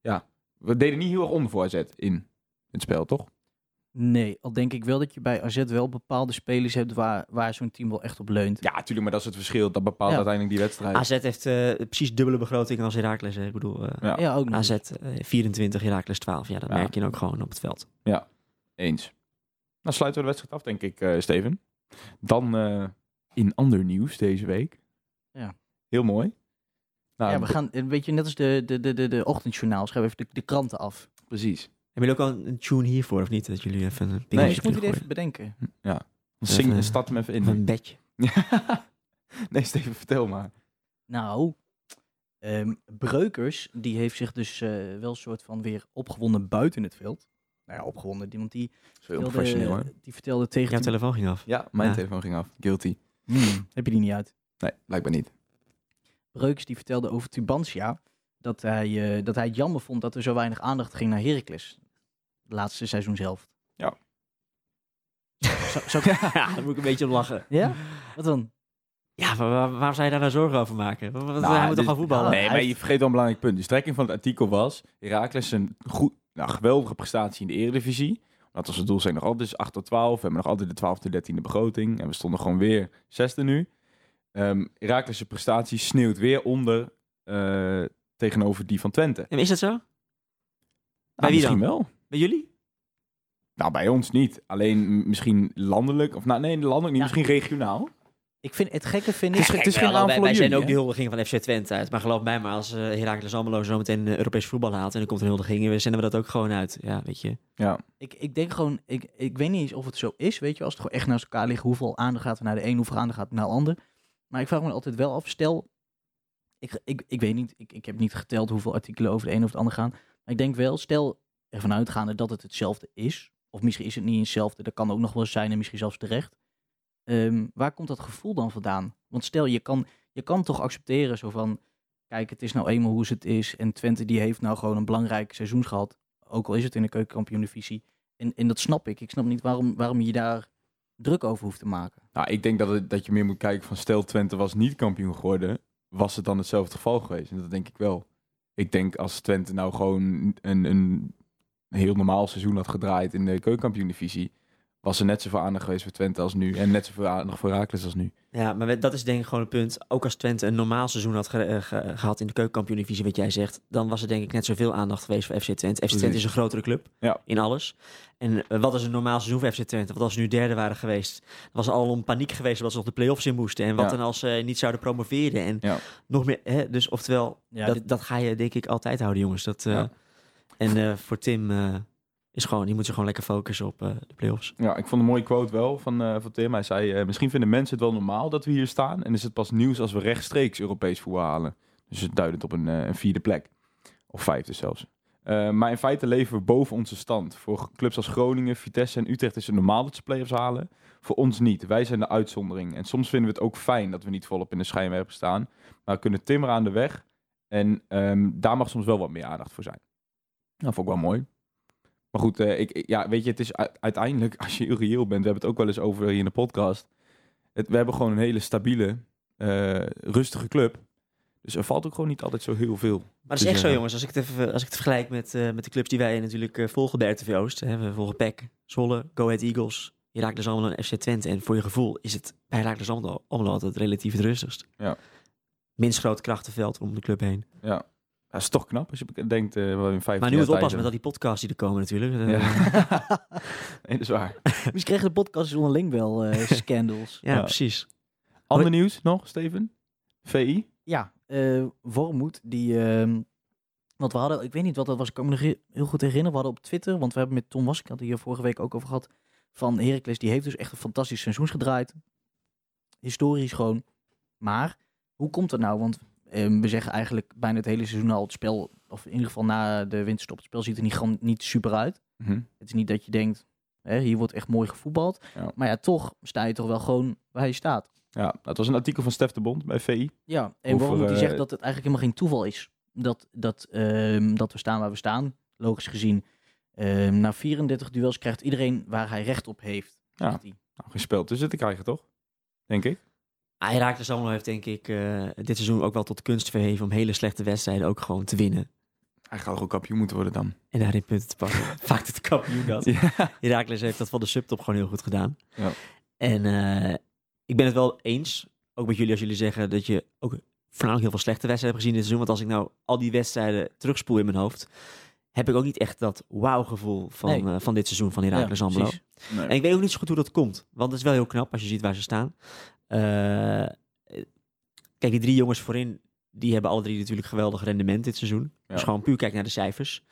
Ja, we deden niet heel erg onder voor AZ in het spel, toch? Nee, al denk ik wel dat je bij AZ wel bepaalde spelers hebt waar, waar zo'n team wel echt op leunt. Ja, natuurlijk. Maar dat is het verschil. Dat bepaalt Ja. uiteindelijk die wedstrijd. AZ heeft eh, precies dubbele begroting als Heracles. hè. Ik bedoel, eh, Ja. Ja, ook nog. AZ eh, 24, Heracles 12. Ja, dat Ja. merk je dan ook gewoon op het veld. Eens. Nou sluiten we de wedstrijd af, denk ik, eh, Steven. Dan eh, in ander nieuws deze week. Ja. Heel mooi. Nou, ja, we gaan een beetje net als de, de, de, de, de ochtendjournaal. Schrijven we even de, de kranten af. Precies. Hebben jullie ook al een, een tune hiervoor of niet? Dat jullie even een Nee, pingeltje moet Dus je het teruggooien? even bedenken. Zing, Even- start hem even Of in. een bedje. nee, Steven, vertel maar. Nou, ehm, Breukers, die heeft zich dus eh, wel een soort van weer opgewonden buiten het veld. Nou ja, opgewonden. Die- Want die, Zo heel vertelde- professioneel, hè? die vertelde tegen... Jouw die- telefoon ging af. Ja, mijn Ja. telefoon ging af. Guilty. Hmm, heb je die niet uit? Nee, blijkbaar niet. Breukers die vertelde over Tubantia dat hij, eh, dat hij het jammer vond dat er zo weinig aandacht ging naar Heracles. De laatste seizoen zelf. Ja. Zou- zou ik- ja, daar moet ik een beetje om lachen. ja? Wat dan? Ja, maar waar, waarom zou je daar nou zorgen over maken? Wat, wat- Nou, hij moet toch dit- gaan voetballen? nee, hij maar heeft- je vergeet wel een belangrijk punt. De strekking van het artikel was... Heracles een goed, nou, geweldige prestatie in de eredivisie. Dat was het doel zijn nog altijd dus 8 tot 12. We hebben nog altijd de 12 e 13e begroting. En we stonden gewoon weer zesde nu. Ehm Heracles' prestatie sneeuwt weer onder eh, tegenover die van Twente. En is dat zo? Nou, wie Ah, misschien dan? wel. Bij jullie? Nou, bij ons niet. Alleen m- misschien landelijk. Of nou, nee, landelijk niet. Ja. Misschien regionaal. Ik vind, het gekke vind Het is ik... ge- het is Kijk, geen wel, naam wij, voor wij zijn jullie, ook hè? de huldiging van FC Twente uit. Maar geloof mij maar, als eh Heracles Almelo zo meteen eh, Europees voetbal haalt... en er komt een huldiging, dan zenden we dat ook gewoon uit. Ja, weet je. Ik, ik denk gewoon... Ik, ik weet niet eens of het zo is, weet je. Als het gewoon echt naast elkaar ligt, hoeveel aandacht gaat er naar de een, hoeveel aandacht gaat er naar de ander. Maar ik vraag me altijd wel af, stel... Ik, ik, ik weet niet, ik, ik heb niet geteld hoeveel artikelen over de een of de ander gaan. Maar ik denk wel, stel ervan uitgaande dat het hetzelfde is. Of misschien is het niet hetzelfde, dat kan ook nog wel eens zijn en misschien zelfs terecht. Ehm, waar komt dat gevoel dan vandaan? Want stel, je kan, je kan toch accepteren zo van... Kijk, het is nou eenmaal hoe het is. En Twente die heeft nou gewoon een belangrijk seizoen gehad. Ook al is het in de keukenkampioen-divisie. En, en dat snap ik. Ik snap niet waarom, waarom je daar druk over hoeft te maken. Nou, ik denk dat, het- dat je meer moet kijken van... Stel, Twente was niet kampioen geworden. Was het dan hetzelfde geval geweest? En dat denk ik wel. Ik denk als Twente nou gewoon een, een heel normaal seizoen had gedraaid... in de keukenkampioen-divisie... was er net zoveel aandacht geweest voor Twente als nu. En net zoveel aandacht voor Heracles als nu. Ja, maar we- dat is denk ik gewoon het punt. Ook als Twente een normaal seizoen had ge- eh, ge- gehad in de keukenkampioen-divisie, wat jij zegt, dan was er denk ik net zoveel aandacht geweest voor FC Twente. FC Twente Precies. is een grotere club Ja. in alles. En eh, wat is een normaal seizoen voor FC Twente? Want als ze nu derde waren geweest, was er al een paniek geweest omdat ze nog de play-offs in moesten. En wat Ja. dan als ze niet zouden promoveren? En Ja. nog meer, hè? dus oftewel, Ja, dat, dit- dat ga je denk ik altijd houden, jongens. Dat, eh, Ja. En eh, voor Tim eh, is gewoon, die moet zich gewoon lekker focussen op eh, de play-offs. Ja, ik vond een mooie quote wel van, eh, van Tim. Hij zei, eh, misschien vinden mensen het wel normaal dat we hier staan... en is het pas nieuws als we rechtstreeks Europees voetbal halen. Dus het duidt op een, eh, een vierde plek. Of vijfde zelfs. Eh, maar in feite leven we boven onze stand. Voor clubs als Groningen, Vitesse en Utrecht is het normaal dat ze play-offs halen. Voor ons niet. Wij zijn de uitzondering. En soms vinden we het ook fijn dat we niet volop in de schijnwerpen staan. Maar we kunnen timmeren aan de weg. En ehm, daar mag soms wel wat meer aandacht voor zijn. Dat vond ik wel mooi. Maar goed, eh, ik, ik- ja, weet je, het is u- uiteindelijk, als je reëel bent, we hebben het ook wel eens over hier in de podcast. Het, we hebben gewoon een hele stabiele, eh, rustige club. Dus er valt ook gewoon niet altijd zo heel veel. Maar te dat is echt zo, zeggen. jongens. Als ik het, even, als ik het vergelijk met, eh, met de clubs die wij natuurlijk eh, volgen bij RTV Oost. Hè, we volgen PEC, Zwolle, Go Ahead Eagles, dus Heracles Almelo en FC Twente. En voor je gevoel is het bij Heracles Almelo, Almelo altijd relatief het rustigst. Ja. Minst groot krachtenveld om de club heen. Dat is toch knap als je denkt, eh we in vijf Maar nu het oppassen met al die podcasts die er komen natuurlijk. Eh, ja. nee, dat is waar. Misschien krijgen de podcasters onderling wel eh, scandals. Ja. precies. Ander nieuws nog, Steven? VI? Ja, eh Wormoed, die... ehm, want we hadden, ik weet niet wat dat was, ik kan me nog he- heel goed herinneren. We hadden op Twitter, want we hebben met Tom Wassink, had hier vorige week ook over gehad, van Heracles, die heeft dus echt een fantastisch seizoen gedraaid. Historisch gewoon. Maar, hoe komt dat nou? Want ehm, we zeggen eigenlijk bijna het hele seizoen al, het spel, of in ieder geval na de winterstop, het spel ziet er niet, gewoon niet super uit. Mhm. Het is niet dat je denkt, hè, hier wordt echt mooi gevoetbald. Ja. Maar ja, toch sta je toch wel gewoon waar je staat. Ja, dat was een artikel van Stef de Bond bij VI. Ja, en Over, waarom moet hij eh, zeggen dat het eigenlijk helemaal geen toeval is? Dat, dat, ehm, dat we staan waar we staan, logisch gezien. Ehm, na 34 duels krijgt iedereen waar hij recht op heeft. Ja. zegt hij. Nou, geen spel tussen te krijgen, toch? Denk ik. Ah, Heracles Almelo heeft denk ik eh, dit seizoen ook wel tot kunst verheven om hele slechte wedstrijden ook gewoon te winnen. Hij gaat ook kampioen moeten worden dan. En daarin punten te pakken. Vaak het kampioen dat. Ja. Herakles heeft dat van de subtop gewoon heel goed gedaan. Ja. En eh, ik ben het wel eens, ook met jullie als jullie zeggen dat je ook voornamelijk heel veel slechte wedstrijden hebt gezien dit seizoen. Want als ik nou al die wedstrijden terugspoel in mijn hoofd, heb ik ook niet echt dat wauw gevoel van, Nee. eh, van dit seizoen van Ja, Herakles Almelo. precies. En ik weet ook niet zo goed hoe dat komt. Want het is wel heel knap als je ziet waar ze staan. Eh, eh, kijk, die drie jongens voorin, die hebben alle drie natuurlijk geweldig rendement dit seizoen. Ja. Dus gewoon puur kijk naar de cijfers.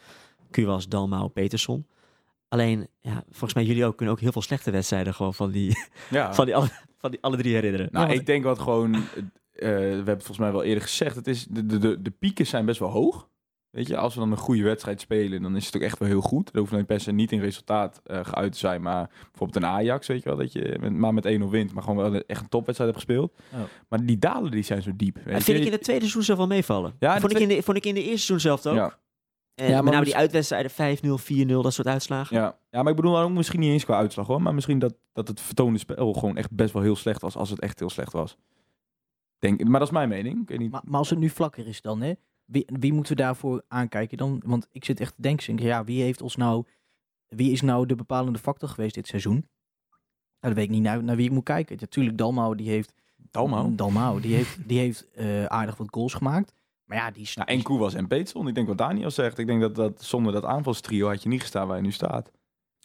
Kuwas, Dalmau, Peterson. Alleen, ja, volgens mij jullie ook kunnen ook heel veel slechte wedstrijden gewoon van die, Ja. van die, alle, van die alle drie herinneren. Nou, ik denk wat gewoon. eh, we hebben het volgens mij wel eerder gezegd. Het is, de, de- de, de pieken zijn best wel hoog. Weet je, als we dan een goede wedstrijd spelen, dan is het ook echt wel heel goed. Dan hoeft dan per se niet in resultaat eh, geuit te zijn. Maar bijvoorbeeld een Ajax, weet je wel, dat je met, maar met 1-0 wint. Maar gewoon wel echt een topwedstrijd hebt gespeeld. Ja. Maar die dalen die zijn zo diep. Weet dat je. Ah, vind ik in het tweede seizoen zelf wel meevallen. Ja, vond, de ik in de, vond ik in de eerste seizoen zelf ook. Ja. En Ja, maar met name moest- die uitwedstrijden 5-0, 4-0, dat soort uitslagen. Ja. ja, maar ik bedoel dan ook misschien niet eens qua uitslag hoor. Maar misschien dat, dat het vertoonde spel gewoon echt best wel heel slecht was. Als het echt heel slecht was. Denk, maar dat is mijn mening. Ik weet niet. Maar, maar als het nu vlakker is dan, hè? Wie, wie moeten we daarvoor aankijken dan? Want ik zit echt te denken, ik denk, ja, wie heeft ons nou... Wie is nou de bepalende factor geweest dit seizoen? Nou, dat weet ik niet Nou, naar, naar wie ik moet kijken. Natuurlijk, Dalmau, die heeft... Dalmau? Dalmau, die heeft, die heeft eh, aardig wat goals gemaakt. Maar ja, die is... Nou, en Koewas en Peetson. Ik denk wat Daniel zegt. Ik denk dat, dat zonder dat aanvalstrio had je niet gestaan waar je nu staat.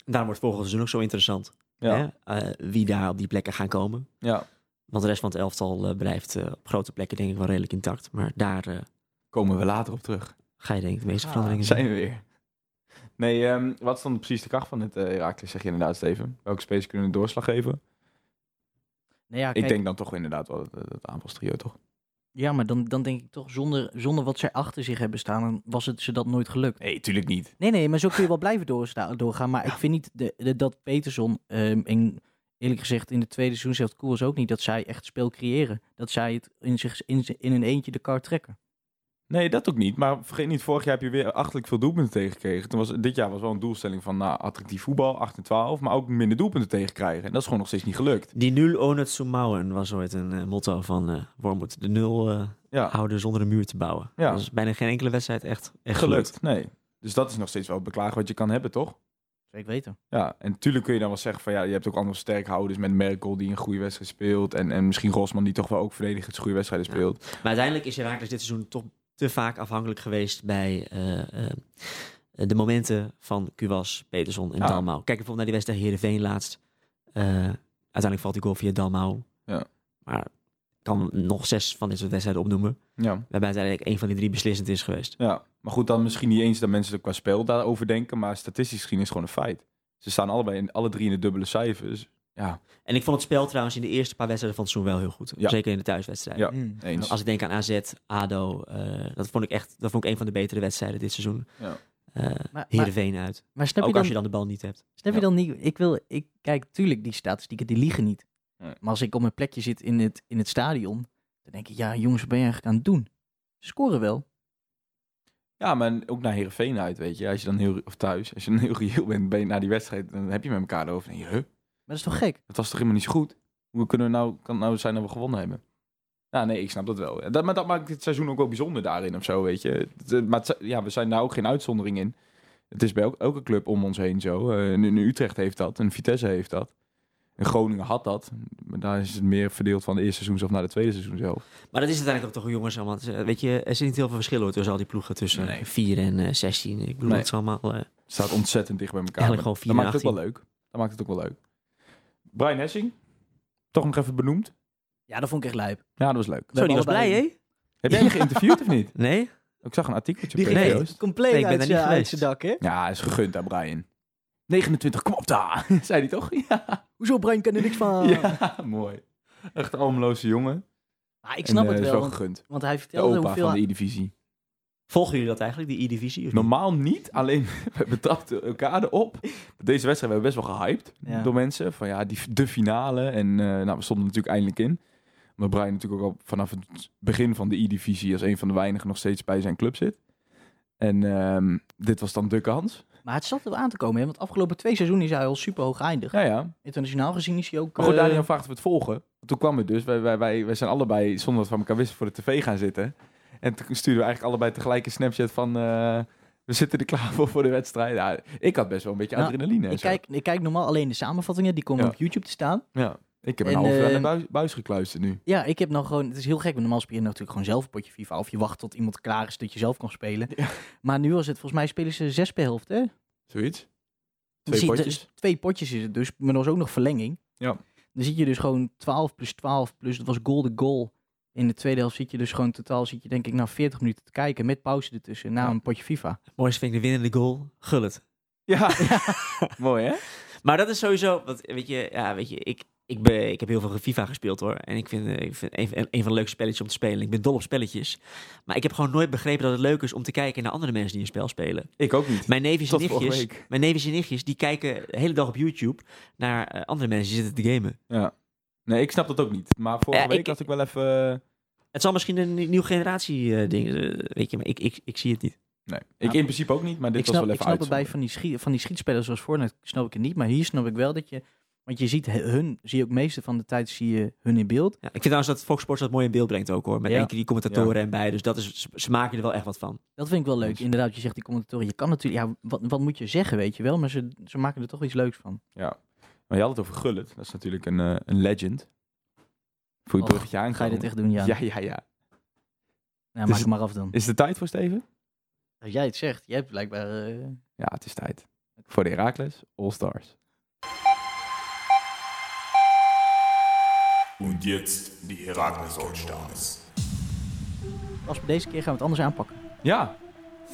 Daarom wordt volgend seizoen ook zo interessant. Ja, Hè? Eh, wie daar op die plekken gaan komen. ja. Want de rest van het elftal eh, blijft eh, op grote plekken denk ik wel redelijk intact. Maar daar eh, komen we later op terug. ga je denk ik de meeste Ah, veranderingen zien. Zijn we weer. Nee, ehm, wat is dan precies de kracht van het eh, Herakles, zeg je inderdaad, Steven? Welke space kunnen een doorslag geven? Nou ja, Ik kijk, denk dan toch inderdaad wel dat, dat aanvalstrio, toch? Ja, maar dan, dan denk ik toch, zonder, zonder wat zij achter zich hebben staan, dan was het ze dat nooit gelukt. Nee, tuurlijk niet. Nee, nee, maar zo kun je wel blijven doorsta- doorgaan. Maar ik vind niet de, de- dat Peterson, ehm, en eerlijk gezegd in de tweede seizoen zegt Koers ook niet, dat zij echt speel creëren. Dat zij het in, zich, in, z- in een eentje de kar trekken. Nee, dat ook niet. Maar vergeet niet, vorig jaar heb je weer achterlijk veel doelpunten tegengekregen. Toen was, dit jaar was wel een doelstelling van nou, attractief voetbal, 8 en 12, maar ook minder doelpunten tegenkrijgen. En dat is gewoon nog steeds niet gelukt. Die nul ohne zu mauern was ooit een eh, motto van eh Wormoed. De nul eh, Ja. houden zonder een muur te bouwen. Ja. Dat is bijna geen enkele wedstrijd echt, echt gelukt. gelukt. Nee. Dus dat is nog steeds wel het beklagen wat je kan hebben, toch? Zeker weten. Ja, en tuurlijk kun je dan wel zeggen van ja, je hebt ook andere sterkhouders met Merkel die een goede wedstrijd speelt. En, en misschien Rosman die toch wel ook verdedigend goede wedstrijden Ja. speelt. Ja, Maar uiteindelijk is Herakles dit seizoen toch te vaak afhankelijk geweest bij eh, eh, de momenten van Kuwas, Peterson en Ja. Dalmau. Kijk bijvoorbeeld naar die wedstrijd Heerenveen laatst. Eh, uiteindelijk valt die goal via Dalmau. Ja. Maar ik kan nog zes van dit soort wedstrijden opnoemen. ja. Waarbij uiteindelijk één van die drie beslissend is geweest. Maar goed, dan misschien niet eens dat mensen er qua spel daarover denken, maar statistisch gezien is het gewoon een feit. Ze staan allebei in, alle drie in de dubbele cijfers. Ja, En ik vond het spel trouwens in de eerste paar wedstrijden van het seizoen wel heel goed. Ja. Zeker in de thuiswedstrijden. Ja. Hmm. Nou, eens. Als ik denk aan AZ, ADO, eh, dat vond ik echt dat vond ik een van de betere wedstrijden dit seizoen. Ja. Eh, eh maar- Heerenveen uit. Maar snap je Ook dan als je dan de bal niet hebt. Snap je Ja. dan niet? Ik wil, ik kijk, tuurlijk, die statistieken die liegen niet. Nee. Maar als ik op mijn plekje zit in het, in het stadion, dan denk ik, ja, jongens, wat ben je eigenlijk aan het doen? Ze Scoren wel. Ja, maar ook naar Heerenveen uit, weet je. Als je dan heel, of thuis, als je dan heel reëel bent ben je na die wedstrijd, dan heb je met elkaar over. En je, huh, Maar dat is toch gek? dat was toch helemaal niet zo goed? Hoe kunnen we nou, kan het nou zijn dat we gewonnen hebben? Nou, nee, ik snap dat wel. Dat, maar dat maakt dit seizoen ook wel bijzonder daarin of zo, weet je. Het, eh, maar het- ja, we zijn daar ook geen uitzondering in. Het is bij elke, elke club om ons heen zo. Eh, en in Utrecht heeft dat, en Vitesse heeft dat. En Groningen had dat. Maar daar is het meer verdeeld van de eerste seizoen zelf naar de tweede seizoen zelf. Maar dat is uiteindelijk ook toch jongens allemaal. Het is, eh, Weet je, er zit niet heel veel verschil hoor, tussen al die ploegen tussen Nee. 4 en eh, 16. Ik bedoel, Nee. het is allemaal... eh, Het staat ontzettend dicht bij elkaar. Eigenlijk Maar gewoon dat maakt het ook 4 en wel leuk. Dat maakt het ook wel leuk. Brian Hessing, toch nog even benoemd. Ja, dat vond ik echt lijp. Ja, dat was leuk. Zo, die was allebei- blij, hè? Heb jij hem geïnterviewd of niet? Nee? Ik zag een artikeltje. Die op ging de Nee. Joost. echt compleet Nee, ik uit ben daar zijn niet uit geweest. zijn dak, hè? Ja, is gegund aan Brian. 29, kom op daar, zei hij toch? Ja, Hoezo, Brian kan er niks van? ja mooi. Echt een almeloze jongen. Maar ik snap En, eh, het is wel, want, gegund. want hij De vertelde opa hoeveel... van de E-divisie. Volgen jullie dat eigenlijk, die E-divisie? of niet? Normaal niet, alleen we betrapten elkaar erop. Deze wedstrijd hebben we best wel gehyped Ja. door mensen. Van ja, die, de finale. En eh, nou, we stonden natuurlijk eindelijk in. Maar Brian natuurlijk ook al vanaf het begin van de E-divisie... als een van de weinigen nog steeds bij zijn club zit. En ehm, dit was dan de kans. Maar het zat er aan te komen, hè? Want afgelopen twee seizoenen is hij al super hoog eindig. Ja, ja. Internationaal gezien is hij ook... Maar goed, eh, Daniel vraagt of we het volgen. Toen kwam het dus. Wij, wij, wij, wij zijn allebei, zonder dat we van elkaar wisten, voor de tv gaan zitten. En toen stuurden we eigenlijk allebei tegelijk een Snapchat van... eh, we zitten er klaar voor voor de wedstrijd. Ja, ik had best wel een beetje Nou, adrenaline. en ik, zo. kijk, ik kijk normaal alleen de samenvattingen, die komen Ja. op YouTube te staan. Ja, ik heb een En, half jaar eh, naar buis, buis gekluisterd nu. Ja, ik heb nou gewoon... Het is heel gek, want normaal speel je natuurlijk gewoon zelf een potje FIFA. Of je wacht tot iemand klaar is dat je zelf kan spelen. Maar nu was het volgens mij spelen ze zes per helft, hè? Zoiets. Dan Twee zie je- potjes. dus twee potjes is het dus, maar er was ook nog verlenging. Ja. Dan zit je dus gewoon 12 plus 12 plus, dat was goal de goal. In de tweede helft zit je dus gewoon totaal, zit je denk ik na 40 minuten te kijken met pauze ertussen na Ja. een potje FIFA. Het mooiste vind ik de winnende goal. Gullet. Ja, mooi hè? Maar dat is sowieso, want, weet je, ja, weet je ik, ik, ben, ik heb heel veel FIFA gespeeld hoor. En ik vind, eh, ik vind een, een van de leukste spelletjes om te spelen. Ik ben dol op spelletjes. Maar ik heb gewoon nooit begrepen dat het leuk is om te kijken naar andere mensen die een spel spelen. Ik ook niet. Mijn neefjes en Tot vorige nichtjes, week. mijn neefjes en nichtjes, die kijken de hele dag op YouTube naar eh, andere mensen die zitten te gamen. Ja. Nee, ik snap dat ook niet. Maar vorige Ja, week ik- had ik wel even... eh, Het zal misschien een nie- nieuwe generatie eh, ding, eh, weet je, maar ik, ik, ik zie het niet. Nee, ik in principe ook niet, maar dit ik was snap, wel ik even snap het bij uit. van die, schiet, van die schietspelers zoals Fortnite, snap ik het niet. Maar hier snap ik wel dat je, want je ziet he- hun, zie je ook meeste van de tijd zie je hun in beeld. Ja, ik vind trouwens dat Fox Sports dat mooi in beeld brengt ook hoor. Met Ja. enkele die commentatoren en bij. Dus dat is, ze- ze maken er wel echt wat van. Dat vind ik wel leuk. Eens. Inderdaad, je zegt die commentatoren, je kan natuurlijk, ja, wat, wat moet je zeggen, weet je wel. Maar ze, ze maken er toch iets leuks van. Maar je had het over Gullit. Dat is natuurlijk een, eh, een legend. Voor je Och, bruggetje aan. Ga je dit echt doen, ja. Ja, ja, ja. nou, dus- maak het maar af dan. Is de tijd voor Steven? Als jij het zegt, jij hebt blijkbaar... eh, Ja, het is tijd. Voor de Herakles All Stars. Und jetzt die Herakles Oldstars. Als we deze keer gaan we het anders aanpakken. Ja,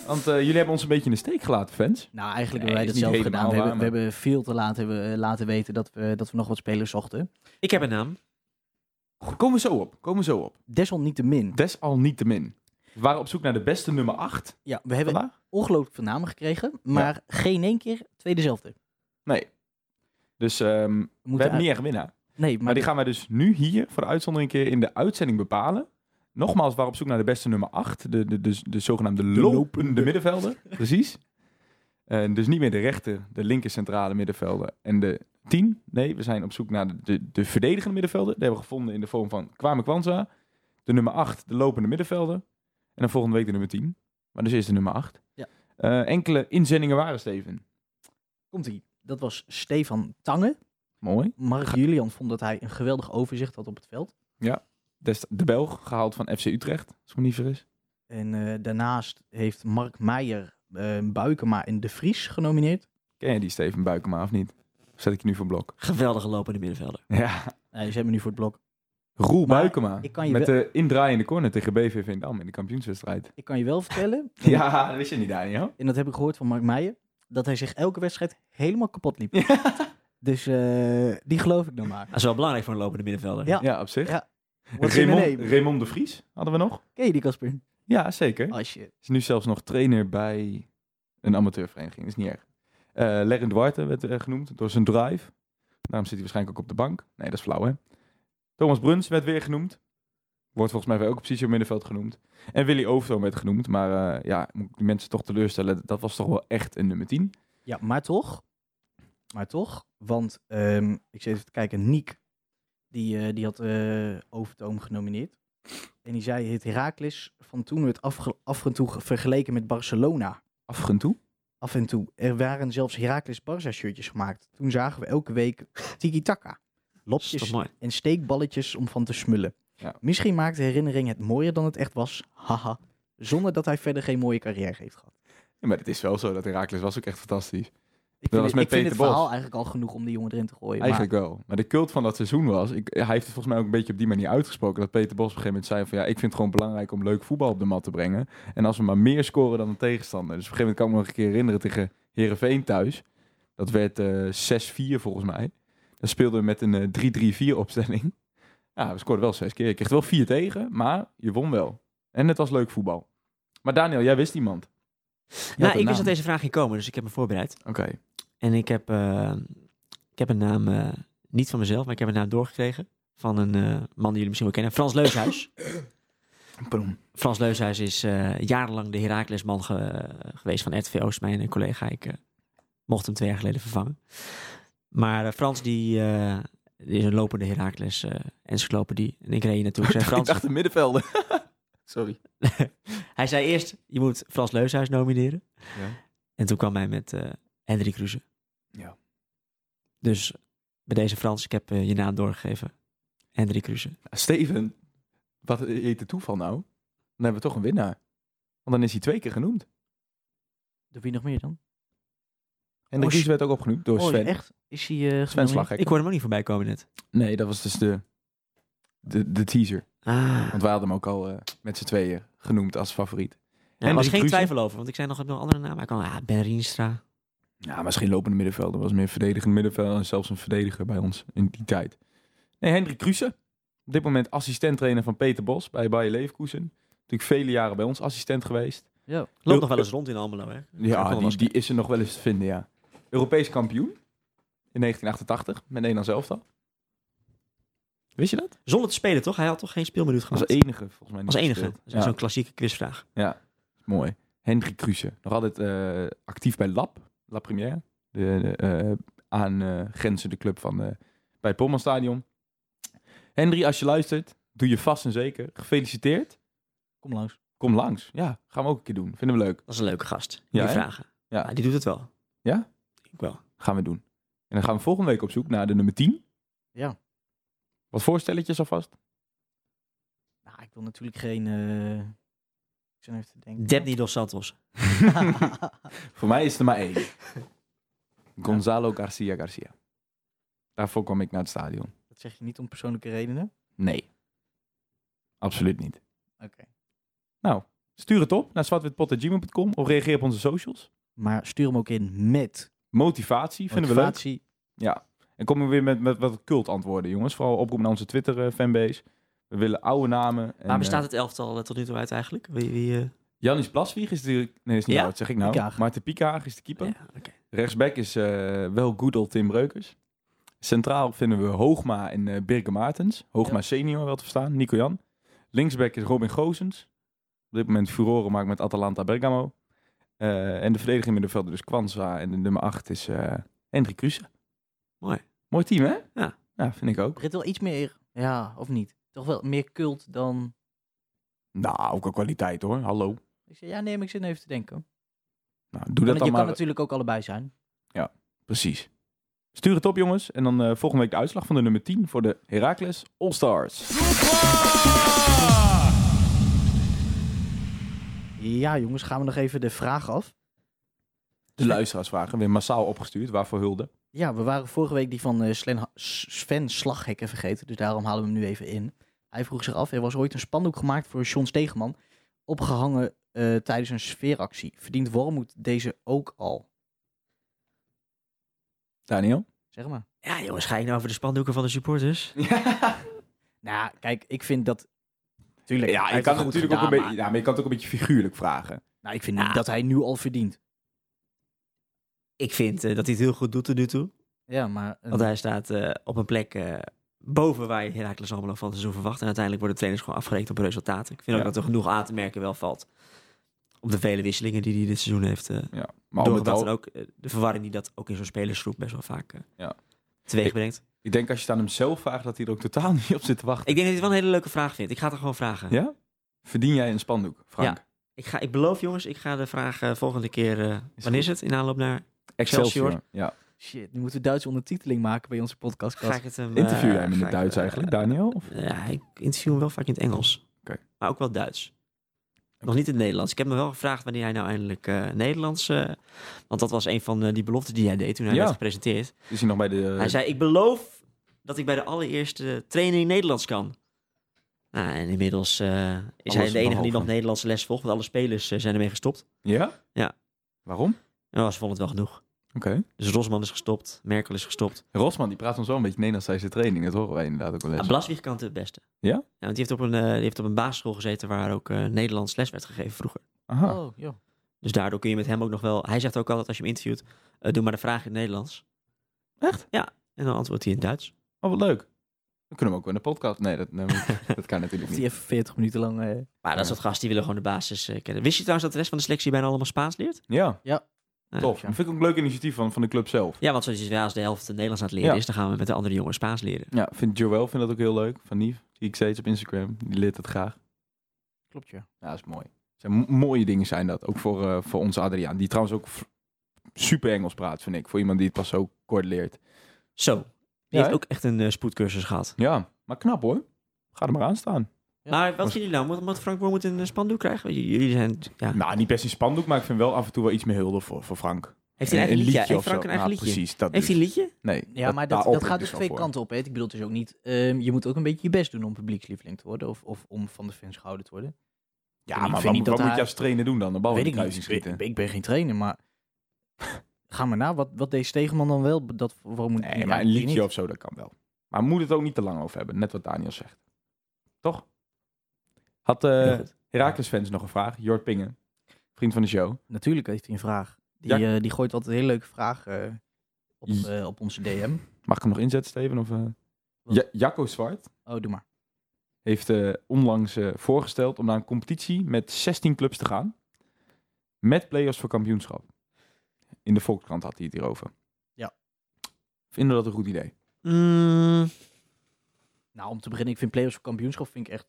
want eh, jullie hebben ons een beetje in de steek gelaten, fans. Nou, eigenlijk hebben Nee, wij dat dat is zelf niet gedaan. We helemaal hebben, we waar, hebben veel te laat hebben, eh, laten weten dat we, dat we nog wat spelers zochten. Ik heb een naam. Goed, Komen we zo op. Komen we zo op. Desalniettemin. Desalniettemin. We waren op zoek naar de beste nummer 8 Ja, we hebben vandaag. ongelooflijk veel namen gekregen, maar geen één keer twee dezelfde. Nee. Dus ehm, We we moeten hebben niet echt winnaar. Maar, uit- Nee, maar, die gaan wij dus nu hier voor de uitzondering een keer in de uitzending bepalen. Nogmaals, we waren op zoek naar de beste nummer 8. De, de, de, de zogenaamde lopende, middenvelder. Precies. En dus niet meer de rechter, de linker centrale middenvelder en de 10. Nee, we zijn op zoek naar de, de, de verdedigende middenvelder. Die hebben we gevonden in de vorm van Kwame Kwanza. De nummer 8, de lopende middenvelder. En dan volgende week de nummer 10. Maar dus eerst de nummer 8. Ja. Eh, enkele inzendingen waren, Steven. komt ie. Dat was Stefan Tange. Mooi. Mark Julian vond dat hij een geweldig overzicht had op het veld. Dest- de Belg, gehaald van FC Utrecht, als ik me niet vergis. En eh, daarnaast heeft Mark Meijer eh, Buikema en De Vries genomineerd. Ken je die Steven Buikema of niet? Of zet ik je nu voor blok? Geweldige lopende middenvelder. Ja. Nee, ze hebben nu voor het blok. Roel Maar Buikema. ik kan je met wel- de indraaiende corner tegen BVV in Dam in de kampioenswedstrijd. Ik kan je wel vertellen, Ja, dat wist je niet, Daniel. en dat heb ik gehoord van Mark Meijer, dat hij zich elke wedstrijd helemaal kapot liep. Dus eh, die geloof ik dan maar. Dat is wel belangrijk voor een lopende middenvelder. Ja. Ja, op zich. Ja. What's in a Raymond, name? Raymond de Vries hadden we nog. Ken je die Casper? Ja, zeker. Als je... Is nu zelfs nog trainer bij Een amateurvereniging, dat is niet erg. Eh Lerin Duarte werd eh, genoemd door zijn drive. Daarom zit hij waarschijnlijk ook op de bank. Nee, dat is flauw, hè? Thomas Bruns werd weer genoemd. Wordt volgens mij ook op positie op middenveld genoemd. En Willy Overtoom werd genoemd. Maar eh, ja, moet ik die mensen toch teleurstellen. Dat was toch wel echt een nummer 10. Ja, maar toch. Maar toch. Want ehm, ik zit even te kijken. Niek, die, eh, die had eh Overtoom genomineerd. En die zei, het Heracles van toen werd afge- af en toe ge- vergeleken met Barcelona. Af en toe. Af en toe. Er waren zelfs Heracles Barça shirtjes gemaakt. Toen zagen we elke week tiki-taka. Dat is toch Lopjes mooi. en steekballetjes om van te smullen. Ja. Misschien maakt de herinnering het mooier dan het echt was. Haha. Zonder dat hij verder geen mooie carrière heeft gehad. Ja, maar het is wel zo. Dat Herakles was ook echt fantastisch. Ik was vind, het- met ik vind Peter het Bos. verhaal eigenlijk al genoeg om die jongen erin te gooien. maar- Eigenlijk wel. Maar de cult van dat seizoen was... Ik, hij heeft het volgens mij ook een beetje op die manier uitgesproken. Dat Peter Bos op een gegeven moment zei van... Ja, ik vind het gewoon belangrijk om leuk voetbal op de mat te brengen. En als we maar meer scoren dan de tegenstander. Dus op een gegeven moment kan ik me nog een keer herinneren tegen Herenveen thuis. Dat werd eh 6-4 volgens mij. Dat speelden we met een eh, 3-3-4 opstelling. Ja, we scoorden wel zes keer. Je kreeg er wel vier tegen, maar je won wel. En het was leuk voetbal. Maar Daniel, jij wist iemand. Jij had Nou, een ik wist naam. dat deze vraag ging komen, dus ik heb me voorbereid. Oké. En ik heb, eh, ik heb een naam, eh, niet van mezelf, maar ik heb een naam doorgekregen. Van een eh, man die jullie misschien wel kennen, Frans Leushuis. Pardon. Frans Leushuis is eh, jarenlang de Heracles-man ge- geweest van RTV Oost, mijn collega. Ik eh, mocht hem twee jaar geleden vervangen. Maar eh, Frans, die, eh, die is een lopende Heracles eh encyclopedie. En ik reed hier naartoe. Ik zei, Ik Frans, dacht een middenvelder. Sorry. hij zei eerst, je moet Frans Leushuis nomineren. Ja. En toen kwam hij met eh Hendrik Ruse. Ja. Dus bij deze Frans, ik heb eh, je naam doorgegeven. Hendrik Ruse. Steven, wat heet de toeval nou? Dan hebben we toch een winnaar. Want dan is hij twee keer genoemd. Door wie nog meer dan? En de Oh, Gies werd ook opgenoemd door Oh, Sven. is echt? Is hij... eh Sven genomineerd? Slaghek. Ik hoorde hem ook niet voorbij komen net. Nee, dat was dus de, de, de teaser. Ah. Want wij hadden hem ook al eh, met z'n tweeën genoemd als favoriet. Ja, er was Hendrik geen Kruse. twijfel over, want ik zei nog, heb nog een andere naam. Hij kwam, ah, Ben Rienstra. Ja, misschien lopende middenvelder. Was meer verdedigend middenvelder en zelfs een verdediger bij ons in die tijd. Nee, Hendrik Kruse. Op dit moment assistent-trainer van Peter Bos bij Bayer Leverkusen. Natuurlijk vele jaren bij ons assistent geweest. Ja. Loopt nog wel eens rond in Almelo, hè? Kan Ja, wel die, eens- die is er nog wel eens te vinden, ja. Europees kampioen in 1988 met Nederland zelf dan. Wist je dat? Zonder te spelen, toch? Hij had toch geen speelminuut Als gehad? enige, volgens mij. niet Als enige. gespeeld. Dat is Zo'n klassieke quizvraag. Ja, ja. Is mooi. Hendrik Kruse, nog altijd eh, actief bij LAP, La Première. De, de, eh, aan eh, grenzen de club van, eh, bij het Polmanstadion. Henry, als je luistert, doe je vast en zeker. Gefeliciteerd. Kom langs. Kom langs. Ja, gaan we ook een keer doen. Vinden we leuk. Dat is een leuke gast. Ja, die hè? vragen. Ja. Maar die doet het wel. Ja? Ik wel. Gaan we doen. En dan gaan we volgende week op zoek naar de nummer 10. Ja. Wat voorstelletjes alvast? Nou, ik wil natuurlijk geen... eh Ik zit even te denken. Debny Dos Santos. Voor mij is er maar één. Gonzalo Garcia Garcia. Daarvoor kwam ik naar het stadion. Dat zeg je niet om persoonlijke redenen. Nee. Absoluut niet. Oké. Stuur het op naar zwartwitpot.gmail.com of reageer op onze socials. Maar stuur hem ook in met Motivatie vinden we leuk. motivatie. Ja. En komen we weer met, met wat cultantwoorden, jongens. Vooral oproep naar onze Twitter-fanbase. we willen oude namen. En, Waar bestaat het elftal eh, tot nu toe uit eigenlijk? Wie, wie, eh, Janis Plaswieg is de... Nee, is niet Ja? ja? zeg ik nou. Piekaag. Maarten Piekaag is de keeper. ja, oké. Rechtsback is eh, wel Goedel Tim Breukers. Centraal vinden we Hoogma en eh Birke Maartens. Hoogma senior wel te verstaan, Nico Jan. Linksback is Robin Gozens. Op dit moment furoren maakt met Atalanta Bergamo. Eh, en de verdediging middenvelder dus Kwanza. En de nummer 8 is eh Hendrik Kruse. Mooi. Mooi team, hè? Ja. Ja, vind ik ook. Er zit wel iets meer... Ja, of niet? Toch wel meer cult dan... Nou, ook al kwaliteit hoor. Hallo. Ik zeg, ja, nee, maar ik zit even te denken. Nou, doe dat Want dan je maar. kan natuurlijk ook allebei zijn. Precies. Stuur het op, jongens. En dan eh, volgende week de uitslag van de nummer 10 voor de Heracles All-Stars. Ja, jongens, gaan we nog even de vraag af. De luisteraarsvragen weer massaal opgestuurd. Waarvoor hulde? Ja, we waren vorige week die van eh, Slen- S- Sven Slaghekken vergeten, dus daarom halen we hem nu even in. Hij vroeg zich af, er was ooit een spandoek gemaakt voor John Stegeman, opgehangen eh, tijdens een sfeeractie. Verdient Wormoed deze ook al? Daniel? Zeg maar. ja, jongens, ga je nou over de spandoeken van de supporters? Nou, kijk, ik vind dat... Tuurlijk, Ja, hij je heeft kan, het het goed natuurlijk ook een gedaan, beetje, ja, maar je kan het ook een beetje figuurlijk vragen. maar- Nou, ik vind niet dat hij nu al verdient. Ik vind eh, dat hij het heel goed doet tot nu toe. Ja, maar eh, Want hij staat eh, op een plek eh, boven waar je Heracles allemaal van het seizoen verwacht. En uiteindelijk worden de trainers gewoon afgerekend op resultaten. Ik Ja. vind ook dat er genoeg aan te merken wel valt. Op de vele wisselingen die hij dit seizoen heeft eh Ja. Maar al met doorgebracht. al, En ook eh, de verwarring die dat ook in zo'n spelersgroep best wel vaak eh Ja. teweeg brengt. ik denk als je het aan hem zelf vraagt, dat hij er ook totaal niet op zit te wachten. Ik denk dat hij het wel een hele leuke vraag vindt. Ik ga het er gewoon vragen. Ja? Verdien jij een spandoek, Frank? Ja. Ik, ga, ik beloof jongens, ik ga de vraag eh, volgende keer... eh, wanneer is het? In aanloop naar... Excelsior. Ja. shit, nu moeten we Duitse ondertiteling maken bij onze podcast. Ga ik het hem... eh, Interview jij hem in ga het ik, Duits eh, eigenlijk, Daniel? Of? Ja, ik interview hem wel vaak in het Engels. Oké. Maar ook wel Duits. Nog niet in het Nederlands. Ik heb me wel gevraagd wanneer hij nou eindelijk eh, Nederlands... eh, want dat was een van eh, die beloftes die hij deed toen hij Ja. Eh. werd gepresenteerd. Is hij nog bij de... Hij zei, ik beloof dat ik bij de allereerste training Nederlands kan. Nou, en inmiddels eh, is hij is de enige die behalve. nog Nederlandse les volgt. Want alle spelers eh, zijn ermee gestopt. Ja? Ja. Waarom? En was vond het wel genoeg. Oké. Dus Rosman is gestopt. Merkel is gestopt. Rosman, die praat ons wel een beetje Nederlands tijdens de training. Dat horen wij inderdaad ook wel Ah, eens. Blaswig kan het het beste. Ja? want die heeft op een, eh, die heeft op een basisschool gezeten waar ook eh, Nederlands les werd gegeven vroeger. Aha. Oh, joh. Dus daardoor kun je met hem ook nog wel... Hij zegt ook altijd als je hem interviewt, eh, doe maar de vraag in het Nederlands. Echt? Ja, en dan antwoordt hij in het Duits. Oh, wat leuk. Dan kunnen we ook wel in de podcast. Nee, dat, nee, dat kan natuurlijk Of niet. die even 40 minuten lang... eh, Maar dat soort gasten, die willen gewoon de basis eh, kennen. Wist je trouwens dat de rest van de selectie bijna allemaal Spaans leert? Ja. Ja. Tof. Dat vind ik ook een leuk initiatief van, van de club zelf. Ja, want zoals je zei, als de helft het Nederlands aan het leren Ja. is, dan gaan we met de andere jongens Spaans leren. Ja, vind Joël vindt dat ook heel leuk. Van Nief, zie ik steeds op Instagram. Die leert het graag. klopt, ja. Ja, dat is mooi. Zijn mo- mooie dingen zijn dat. Ook voor, eh, voor onze Adriaan. Die trouwens ook v- super Engels praat, vind ik. Voor iemand die het pas zo kort leert. Zo, die Ja, heeft hè? ook echt een eh, spoedcursus gehad. Ja, maar knap hoor. Ga er maar aan staan. Maar wat vinden jullie nou? Moet, moet Frank Boer moet een eh, spandoek krijgen? J- Jullie zijn... Ja. Nou, niet best in spandoek, maar ik vind wel af en toe wel iets meer hulde voor, voor Frank. Heeft hij een eigen liedje? Heeft of Frank zo. een eigen Ja, liedje? Precies, dat Heeft hij dus. een liedje? Nee. Ja, maar dat, daar offer dat ik gaat dus dus wel twee voor. kanten op. Hè? Ik bedoel dus ook niet... ehm, je moet ook een beetje je best doen om publiekslieveling te worden. Of, of om van de fans gehouden te worden. Ja, Ik maar vind wat, niet moet- dat wat moet hij- je als trainer doen dan? Oh, De bal in Weet de ik niet. kruising Ik, ben- schieten. ik ben geen trainer, maar... Ga maar na. Wat, wat deed Stegeman dan wel? Dat, waarom moet Nee, maar een liedje of zo, dat kan wel. Maar moet het ook niet te lang over hebben, net wat Daniel zegt. Toch? Had Heel eh goed. Herakles fans nog een vraag? Jort Pingen, vriend van de show. Natuurlijk heeft hij een vraag. Die, eh, die gooit altijd hele leuke vragen eh, op, J- eh, op onze DM. Mag ik hem nog inzetten, Steven? Of, eh? Wat? Ja- Jacco Zwart Oh, doe maar. heeft eh, onlangs eh, voorgesteld om naar een competitie met 16 clubs te gaan. Met play-offs voor kampioenschap. In de Volkskrant had hij het hierover. Ja. Vinden we dat een goed idee? Mm, Nou, om te beginnen, ik vind play-offs voor kampioenschap vind ik echt...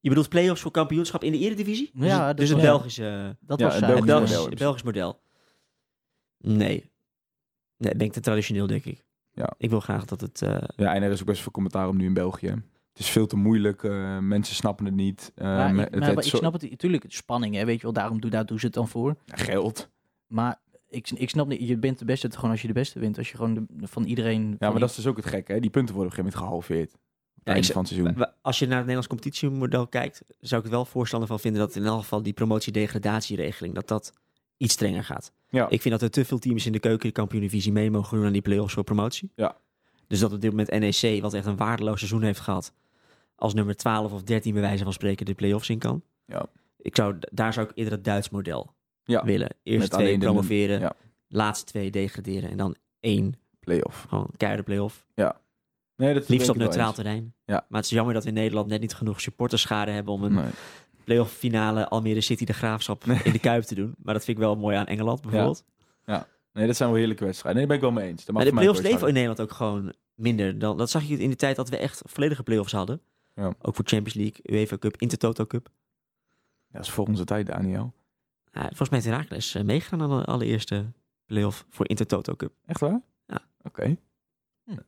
je bedoelt play-offs voor kampioenschap in de eredivisie? Dus Ja, het- dat dus het was- Belgische... Dat Ja, was een saai. Het Belgisch Belgisch, model. het Belgisch model. Nee. Nee, ben ik te traditioneel, denk ik. Ja. Ik wil graag dat het... eh, Ja, en er is ook best veel commentaar op nu in België. Het is veel te moeilijk. eh, mensen snappen het niet. eh, Maar me- ik, maar nou, het ik zo- snap het natuurlijk, het is spanning, hè, weet je wel, daarom doe, daar doen ze het dan voor. Geld. Maar ik, ik snap niet, je bent de beste gewoon als je de beste wint. Als je gewoon de- van iedereen... Ja, maar dat is dus ook het gekke. Hè? Die punten worden op een gegeven moment gehalveerd. Ja, Ja, ik eind z- van het seizoen. we- als je naar het Nederlands competitiemodel kijkt, zou ik het wel voorstander van vinden dat in elk geval die promotie-degradatieregeling, dat dat iets strenger gaat. Ja. Ik vind dat er te veel teams in de keuken de kampioendivisie mee mogen doen aan die play-offs voor promotie. Ja. Dus dat op dit moment NEC, wat echt een waardeloos seizoen heeft gehad, als nummer 12 of 13 bij wijze van spreken de play-offs in kan. Ja. Ik zou, daar zou ik eerder het Duits model Ja. willen. Eerst Met twee alleen de- promoveren, ja. laatste twee degraderen en dan één Play-off. gewoon keiharde play-off. Nee, dat Liefst op ben ik het wel neutraal eens. terrein. Ja. Maar het is jammer dat we in Nederland net niet genoeg supporterschade hebben om een Nee. playoff finale Almere City de Graafschap in de Kuip te doen. Maar dat vind ik wel mooi aan Engeland bijvoorbeeld. nee, dat zijn wel heerlijke wedstrijden. Nee, daar ben ik wel mee eens. Dat mag maar de voor mij playoffs leven in ook Nederland ook gewoon minder dan. Dat zag je in de tijd dat we echt volledige playoffs hadden. Ja. Ook voor Champions League, UEFA Cup, Intertoto Cup. wel. Ja, Dat is voor onze tijd, Daniel. Ja, volgens mij is Herakles meegaan aan de allereerste playoff voor Intertoto Cup. Echt waar? Ja. Oké. Hm. Moeten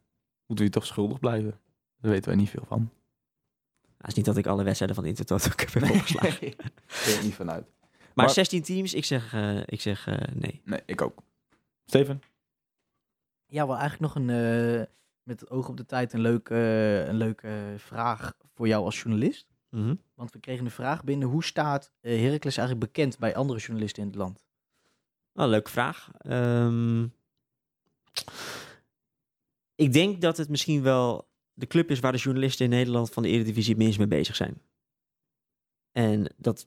we hier toch schuldig blijven? Daar weten wij niet veel van. Nou, het is niet dat ik alle wedstrijden van de Intertoto Cup heb opgeslagen. maar, Daar ben ik niet vanuit. Maar- 16 teams, ik zeg, eh, ik zeg eh, nee. Nee, ik ook. Steven? Ja, wel eigenlijk nog een, eh, met het oog op de tijd, een leuke, eh, een leuke eh, vraag voor jou als journalist. Mhm. Want we kregen een vraag binnen, hoe staat eh Heracles eigenlijk bekend bij andere journalisten in het land? Nou, leuke vraag. Ehm, ik denk dat het misschien wel de club is waar de journalisten in Nederland van de Eredivisie het minst mee bezig zijn. En dat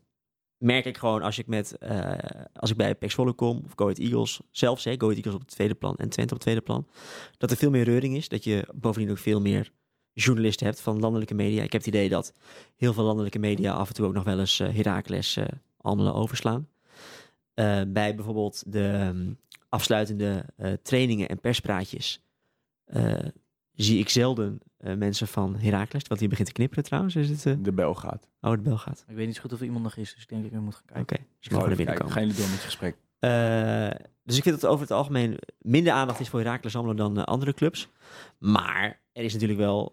merk ik gewoon als ik, met, eh, als ik bij Pek Zwolle kom, of Go Ahead Eagles, zelfs hè, Go Ahead Eagles op het tweede plan en Twente op het tweede plan, dat er veel meer reuring is. Dat je bovendien ook veel meer journalisten hebt van landelijke media. Ik heb het idee dat heel veel landelijke media af en toe ook nog wel eens eh Heracles eh Almelo overslaan. Eh, bij bijvoorbeeld de ehm, afsluitende eh, trainingen en perspraatjes eh, zie ik zelden eh, mensen van Heracles. Want hier begint te knipperen trouwens. Is het, eh De bel gaat. oh, de bel gaat. Ik weet niet zo goed of er iemand nog is, dus ik denk dat ik weer moet gaan Oké, kijken. ze mogen er binnenkomen. Gaan jullie door met het gesprek? Eh, dus ik vind dat er over het algemeen minder aandacht is voor Heracles Almelo dan eh, andere clubs. Maar er is natuurlijk wel,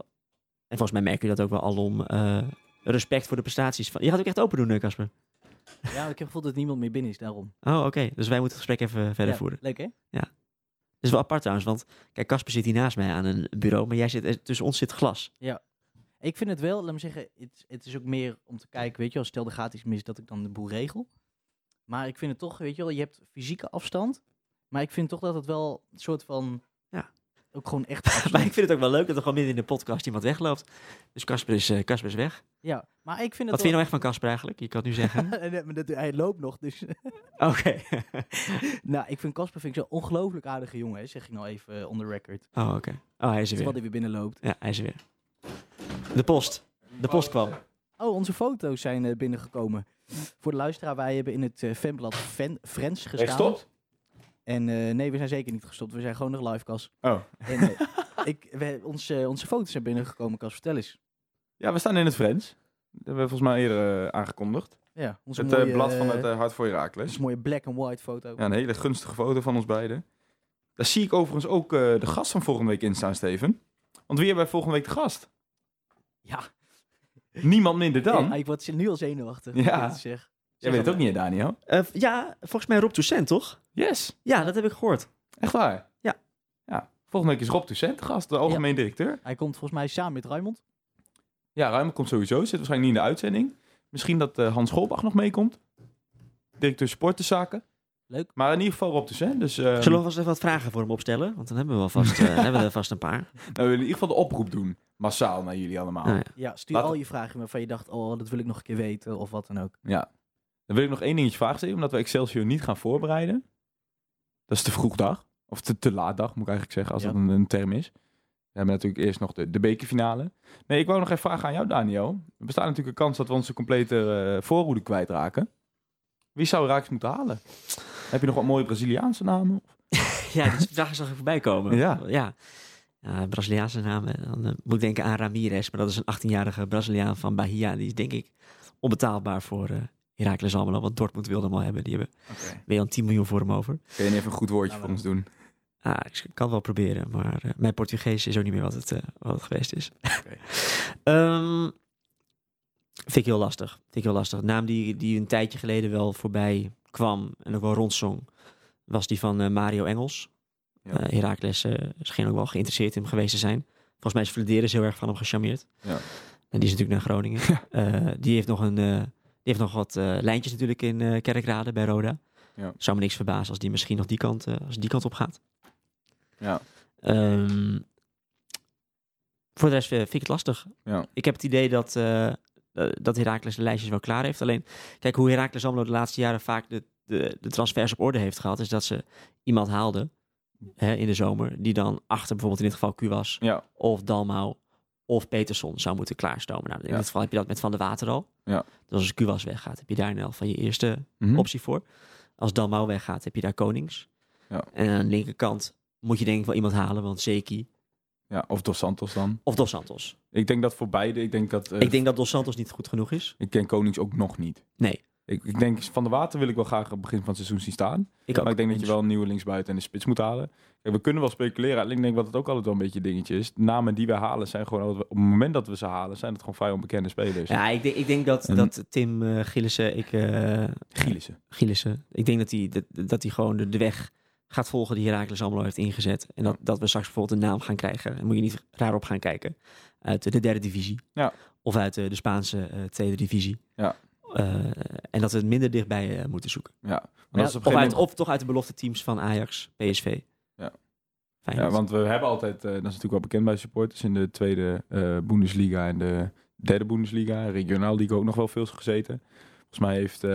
en volgens mij merk je dat ook wel alom, eh, respect voor de prestaties. Van... Je gaat ook echt open doen, hè, Casper? Ja, ik heb het gevoel dat niemand meer binnen is, daarom. Oh, oké. Dus wij moeten het gesprek even verder Ja, voeren. Leuk, hè? Dat is wel apart trouwens, want kijk, Casper zit hier naast mij aan een bureau, maar jij zit, eh, tussen ons zit glas. Ik vind het wel, laat me zeggen, het, het is ook meer om te kijken, weet je wel, stel er gaat iets mis, dat ik dan de boel regel. Maar ik vind het toch, weet je wel, je hebt fysieke afstand, maar ik vind toch dat het wel een soort van, Ja. ook gewoon echt afstand. Maar ik vind het ook wel leuk dat er gewoon midden in de podcast iemand wegloopt. Dus Casper is, eh, Casper is weg. Ja, maar ik vind het Wat vind je nou echt van Casper eigenlijk? Je kan het nu zeggen. wel- Nee, maar dat- hij loopt nog, dus... Oké. nou, ik vind Casper vind ik zo'n ongelooflijk aardige jongen, hè, zeg ik nou even eh, on the record. Oh, oké. Oh, hij is er Terwijl weer. hij weer binnenloopt. Ja, hij is er weer. De post. De post kwam. Oh, onze foto's zijn eh, binnengekomen. Voor de luisteraar, wij hebben in het eh, fanblad fan Friends gestaan. Rechtstop? En eh, nee, we zijn zeker niet gestopt. We zijn gewoon nog live, Cas. Oh. En, eh, ik, we, onze, onze foto's zijn binnengekomen, Cas. Vertel eens. Ja, we staan in het Friends. Dat hebben we volgens mij eerder eh, aangekondigd. Ja, onze Het eh, mooie, blad van eh, het eh, Hart voor Herakles. onze mooie black and white foto. Ja, een hele gunstige foto van ons beiden. Daar zie ik overigens ook eh, de gast van volgende week in staan, Steven. Want wie hebben wij volgende week de gast? Ja. Niemand minder dan. Eh, ik word nu al zenuwachtig. Ja. om dit te zeggen. Jij weet het ook niet, hè, Daniel? Eh, ja, volgens mij Rob Toussaint, toch? Yes, Ja, dat heb ik gehoord. echt waar. Ja. ja. Volgende week is Rob Toussaint de gast, de algemeen directeur. Hij komt volgens mij samen met Raymond. Ja, Ruimer komt sowieso. Zit waarschijnlijk niet in de uitzending. Misschien dat eh, Hans Scholbach nog meekomt. Directeur Sportenzaken. Leuk. Maar in ieder geval Rob Toussaint. Dus, eh, Zullen we vast even wat vragen voor hem opstellen? Want dan hebben we, wel vast, eh, hebben we er vast een paar. Nou, we willen in ieder geval de oproep doen. Massaal naar jullie allemaal. Nou ja. Ja, stuur Laten- al je vragen waarvan je dacht, oh, dat wil ik nog een keer weten of wat dan ook. Ja. Dan wil ik nog één dingetje vragen, Steven, omdat we Excelsior niet gaan voorbereiden. Dat is te vroeg dag. Of te, te laat dag, moet ik eigenlijk zeggen, als Ja. dat een, een term is. We hebben natuurlijk eerst nog de, de bekerfinale. Nee, ik wou nog even vragen aan jou, Daniel. Er bestaat natuurlijk een kans dat we onze complete eh, voorhoede kwijtraken. Wie zou Raaks moeten halen? Heb je nog wat mooie Braziliaanse namen? Ja, die vraag zag ik voorbij komen. Ja. ja. Ja, Braziliaanse namen. Dan eh, moet ik denken aan Ramirez. Maar dat is een 18-jarige Braziliaan van Bahia. Die is denk ik onbetaalbaar voor eh Heracles Almelo. Want Dortmund wilde hem al hebben. Die hebben Oké. meer dan 10 miljoen voor hem over. Kun je even een goed woordje Nou, voor maar- ons doen? Ah, ik kan het wel proberen, maar eh, mijn Portugees is ook niet meer wat het, eh, wat het geweest is. Ehm, vind ik heel lastig. Vind ik heel lastig. Naam die, die een tijdje geleden wel voorbij kwam en ook wel rondzong, was die van eh, Mario Engels. Ja. Eh Herakles scheen ook wel geïnteresseerd in hem geweest te zijn. Volgens mij is Flederis heel erg van hem gecharmeerd. Ja. En die is natuurlijk naar Groningen. Eh, die heeft nog een... eh, die heeft nog wat eh, lijntjes natuurlijk in eh, Kerkrade bij Roda. Ja. Zou me niks verbazen als die misschien nog die kant, eh, als die kant op gaat. Ja. Ehm, voor de rest eh, vind ik het lastig. Ja. Ik heb het idee dat, eh, eh, dat Heracles de lijstjes wel klaar heeft. Alleen, kijk hoe Heracles Amlo de laatste jaren vaak de, de, de transfers op orde heeft gehad. Is dat ze iemand haalden hè, in de zomer. Die dan achter bijvoorbeeld in dit geval Q was. Ja. Of Dalmau. Of Peterson zou moeten klaarstomen. Nou, in Ja. dit geval heb je dat met Van der Water al. Ja. Dus als Q was weggaat, heb je daar in elk van je eerste Mhm. optie voor. Als Dalmau weggaat, heb je daar Konings. Ja. En aan de linkerkant moet je denk ik wel iemand halen, want Zeki Ja, of Dos Santos dan. of Dos Santos. Ik denk dat voor beide, ik denk dat... eh, ik denk dat Dos Santos niet goed genoeg is. ik ken Konings ook nog niet. Nee, Ik, ik denk, Van de Water wil ik wel graag op het begin van het seizoen zien staan. ik ook. Maar ik denk dat je wel een nieuwe linksbuiten en de spits moet halen. Kijk, we kunnen wel speculeren. Alleen ik denk dat het ook altijd wel een beetje een dingetje is. De namen die we halen zijn gewoon... altijd- Op het moment dat we ze halen, zijn het gewoon vrij onbekende spelers. Ja, ik denk, ik denk dat, En- dat Tim eh, Gillissen, ik, eh, Gielissen. Gielissen, ik denk dat hij dat, dat hij gewoon de, de weg gaat volgen die Herakles Amlo heeft ingezet. En dat, dat we straks bijvoorbeeld een naam gaan krijgen. Daar moet je niet raar op gaan kijken. Uit de derde divisie. Ja. Of uit eh, de Spaanse eh, tweede divisie. Ja. Eh, en dat we het minder dichtbij eh, moeten zoeken. Ja. Want Ja, dat is op een Of, gegeven uit, moment- of toch uit de belofte teams van Ajax, PSV. Ja. Feyenoord. Ja, want we hebben altijd... eh, dat is natuurlijk wel bekend bij supporters. In de tweede eh Bundesliga en de derde Bundesliga. Regionaal Liga ook nog wel veel gezeten. Volgens mij heeft eh,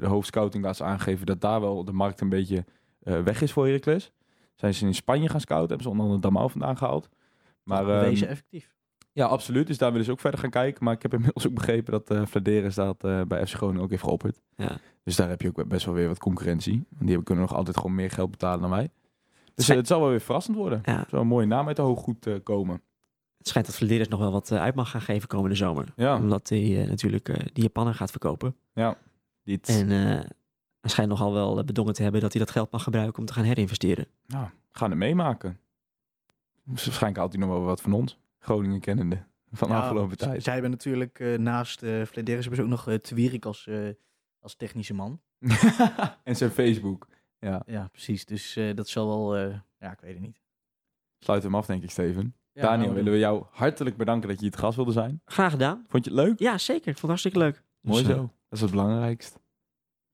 de hoofdscouting laatst aangegeven dat daar wel de markt een beetje eh, weg is voor Heracles. Zijn ze in Spanje gaan scouten, hebben ze onder andere Damau vandaan gehaald. Maar, ehm, Wezen effectief. ja, absoluut. Dus daar willen ze ook verder gaan kijken. Maar ik heb inmiddels ook begrepen dat eh Vladeris dat eh, bij FC Groningen ook heeft geopperd. Ja. Dus daar heb je ook best wel weer wat concurrentie. Want die hebben- kunnen nog altijd gewoon meer geld betalen dan wij. Dus Zij- eh, het zal wel weer verrassend worden. Ja. Het zal een mooie naam uit de hooggoed eh, komen. Het schijnt dat Vlederis nog wel wat eh, uit mag gaan geven komende zomer. Ja, Omdat hij eh, natuurlijk eh die Japaner gaat verkopen. dit. En eh, hij schijnt nogal wel eh, bedongen te hebben dat hij dat geld mag gebruiken om te gaan herinvesteren. Nou, gaan het meemaken. Dus Waarschijnlijk haalt hij nog wel wat van ons. Groningen kennende. Van de Ja, afgelopen z- tijd. Zij hebben natuurlijk eh, naast eh Flederis hebben ze ook nog eh Twierik als, eh, als technische man. en zijn Facebook. Ja, Ja, precies. Dus eh, dat zal wel... eh, ja, ik weet het niet. sluit hem af denk ik Steven. Ja, Daniel, nou, willen we jou hartelijk bedanken dat je hier te gast wilde zijn. Graag gedaan. Vond je het leuk? Ja, zeker. Ik vond het hartstikke leuk. Mooi Dus, zo. eh, Dat is het belangrijkst.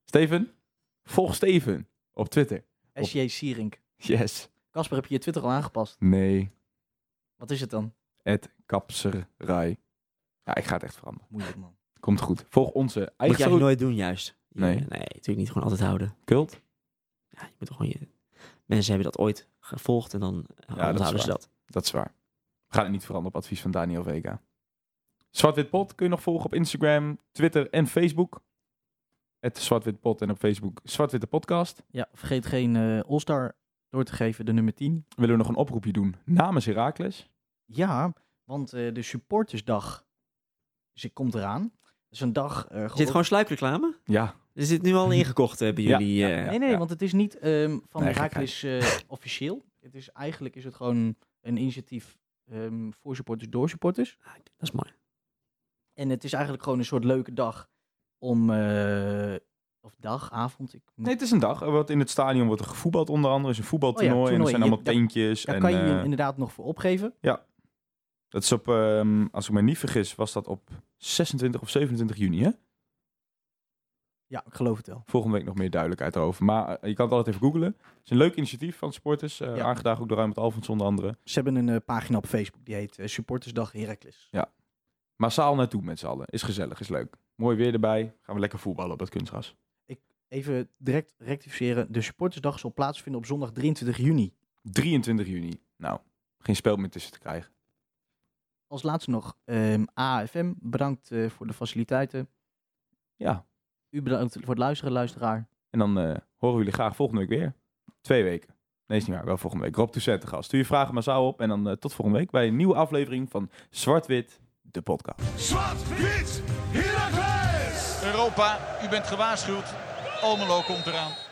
Steven, volg Steven op Twitter. SJ Sierink. Yes. Casper, heb je je Twitter al aangepast? Nee, Wat is het dan? het kapserij. Ja, ik ga het echt veranderen. Moeilijk, man. Komt goed. Volg onze Moet je eigen eigenlijk nooit doen, juist. Je- Nee. nee, natuurlijk niet. Gewoon altijd houden. cult. Ja, je moet gewoon je... Mensen hebben dat ooit gevolgd en dan dat is onthouden waar. ze dat. Dat is waar. We gaan het niet veranderen op advies van Daniel Vega. Zwartwitpot kun je nog volgen op Instagram, Twitter en Facebook. Het Zwartwitpot en op Facebook Zwartwitte Podcast. Ja, vergeet geen eh All-Star door te geven, de nummer 10. Willen we nog een oproepje doen namens Herakles? Ja, want eh, de supportersdag ze komt eraan. Dat is een dag... eh, Is dit gewoon sluikreclame? Ja, Is dit nu al ingekocht eh, bij Ja, jullie? ja, eh? Nee, nee, ja. want het is niet ehm, van Nee, Herakles eh, officieel. Het is, eigenlijk is het gewoon een initiatief ehm, voor supporters, door supporters. Ah, Dat is mooi. En het is eigenlijk gewoon een soort leuke dag om... eh, of dag, avond. Ik moet- nee, het is een dag. Er wordt in het stadion wordt er gevoetbald onder andere. Er is een voetbaltoernooi Oh ja, en er toernooi. zijn Je- allemaal daar- tentjes. Daar en, kan je je eh, inderdaad nog voor opgeven. Dat is op, ehm, als ik me niet vergis, was dat op 26 of 27 juni, hè? Ja, ik geloof het wel. Volgende week nog meer duidelijkheid over. Maar eh, je kan het altijd even googlen. Het is een leuk initiatief van supporters. eh, Ja. Aangedragen ook door Ruimte Alfons onder andere. Ze hebben een eh, pagina op Facebook, die heet eh, Supportersdag Herakles. Massaal naartoe met z'n allen. Is gezellig, is leuk. Mooi weer erbij. Gaan we lekker voetballen op dat kunstgras. Even direct rectificeren. De Supportersdag zal plaatsvinden op zondag 23 juni. 23 juni. Nou, geen spel meer tussen te krijgen. Als laatste nog ehm, AFM. Bedankt eh, voor de faciliteiten. Ja, U bedankt voor het luisteren, luisteraar. en dan eh, horen we jullie graag volgende week weer. Twee weken. Nee, is niet waar. Wel volgende week. Rob Toussaint te gast. Stuur je vragen massaal op. En dan eh, tot volgende week bij een nieuwe aflevering van Zwart-Wit, de podcast. Europa, u bent gewaarschuwd. Almelo komt eraan.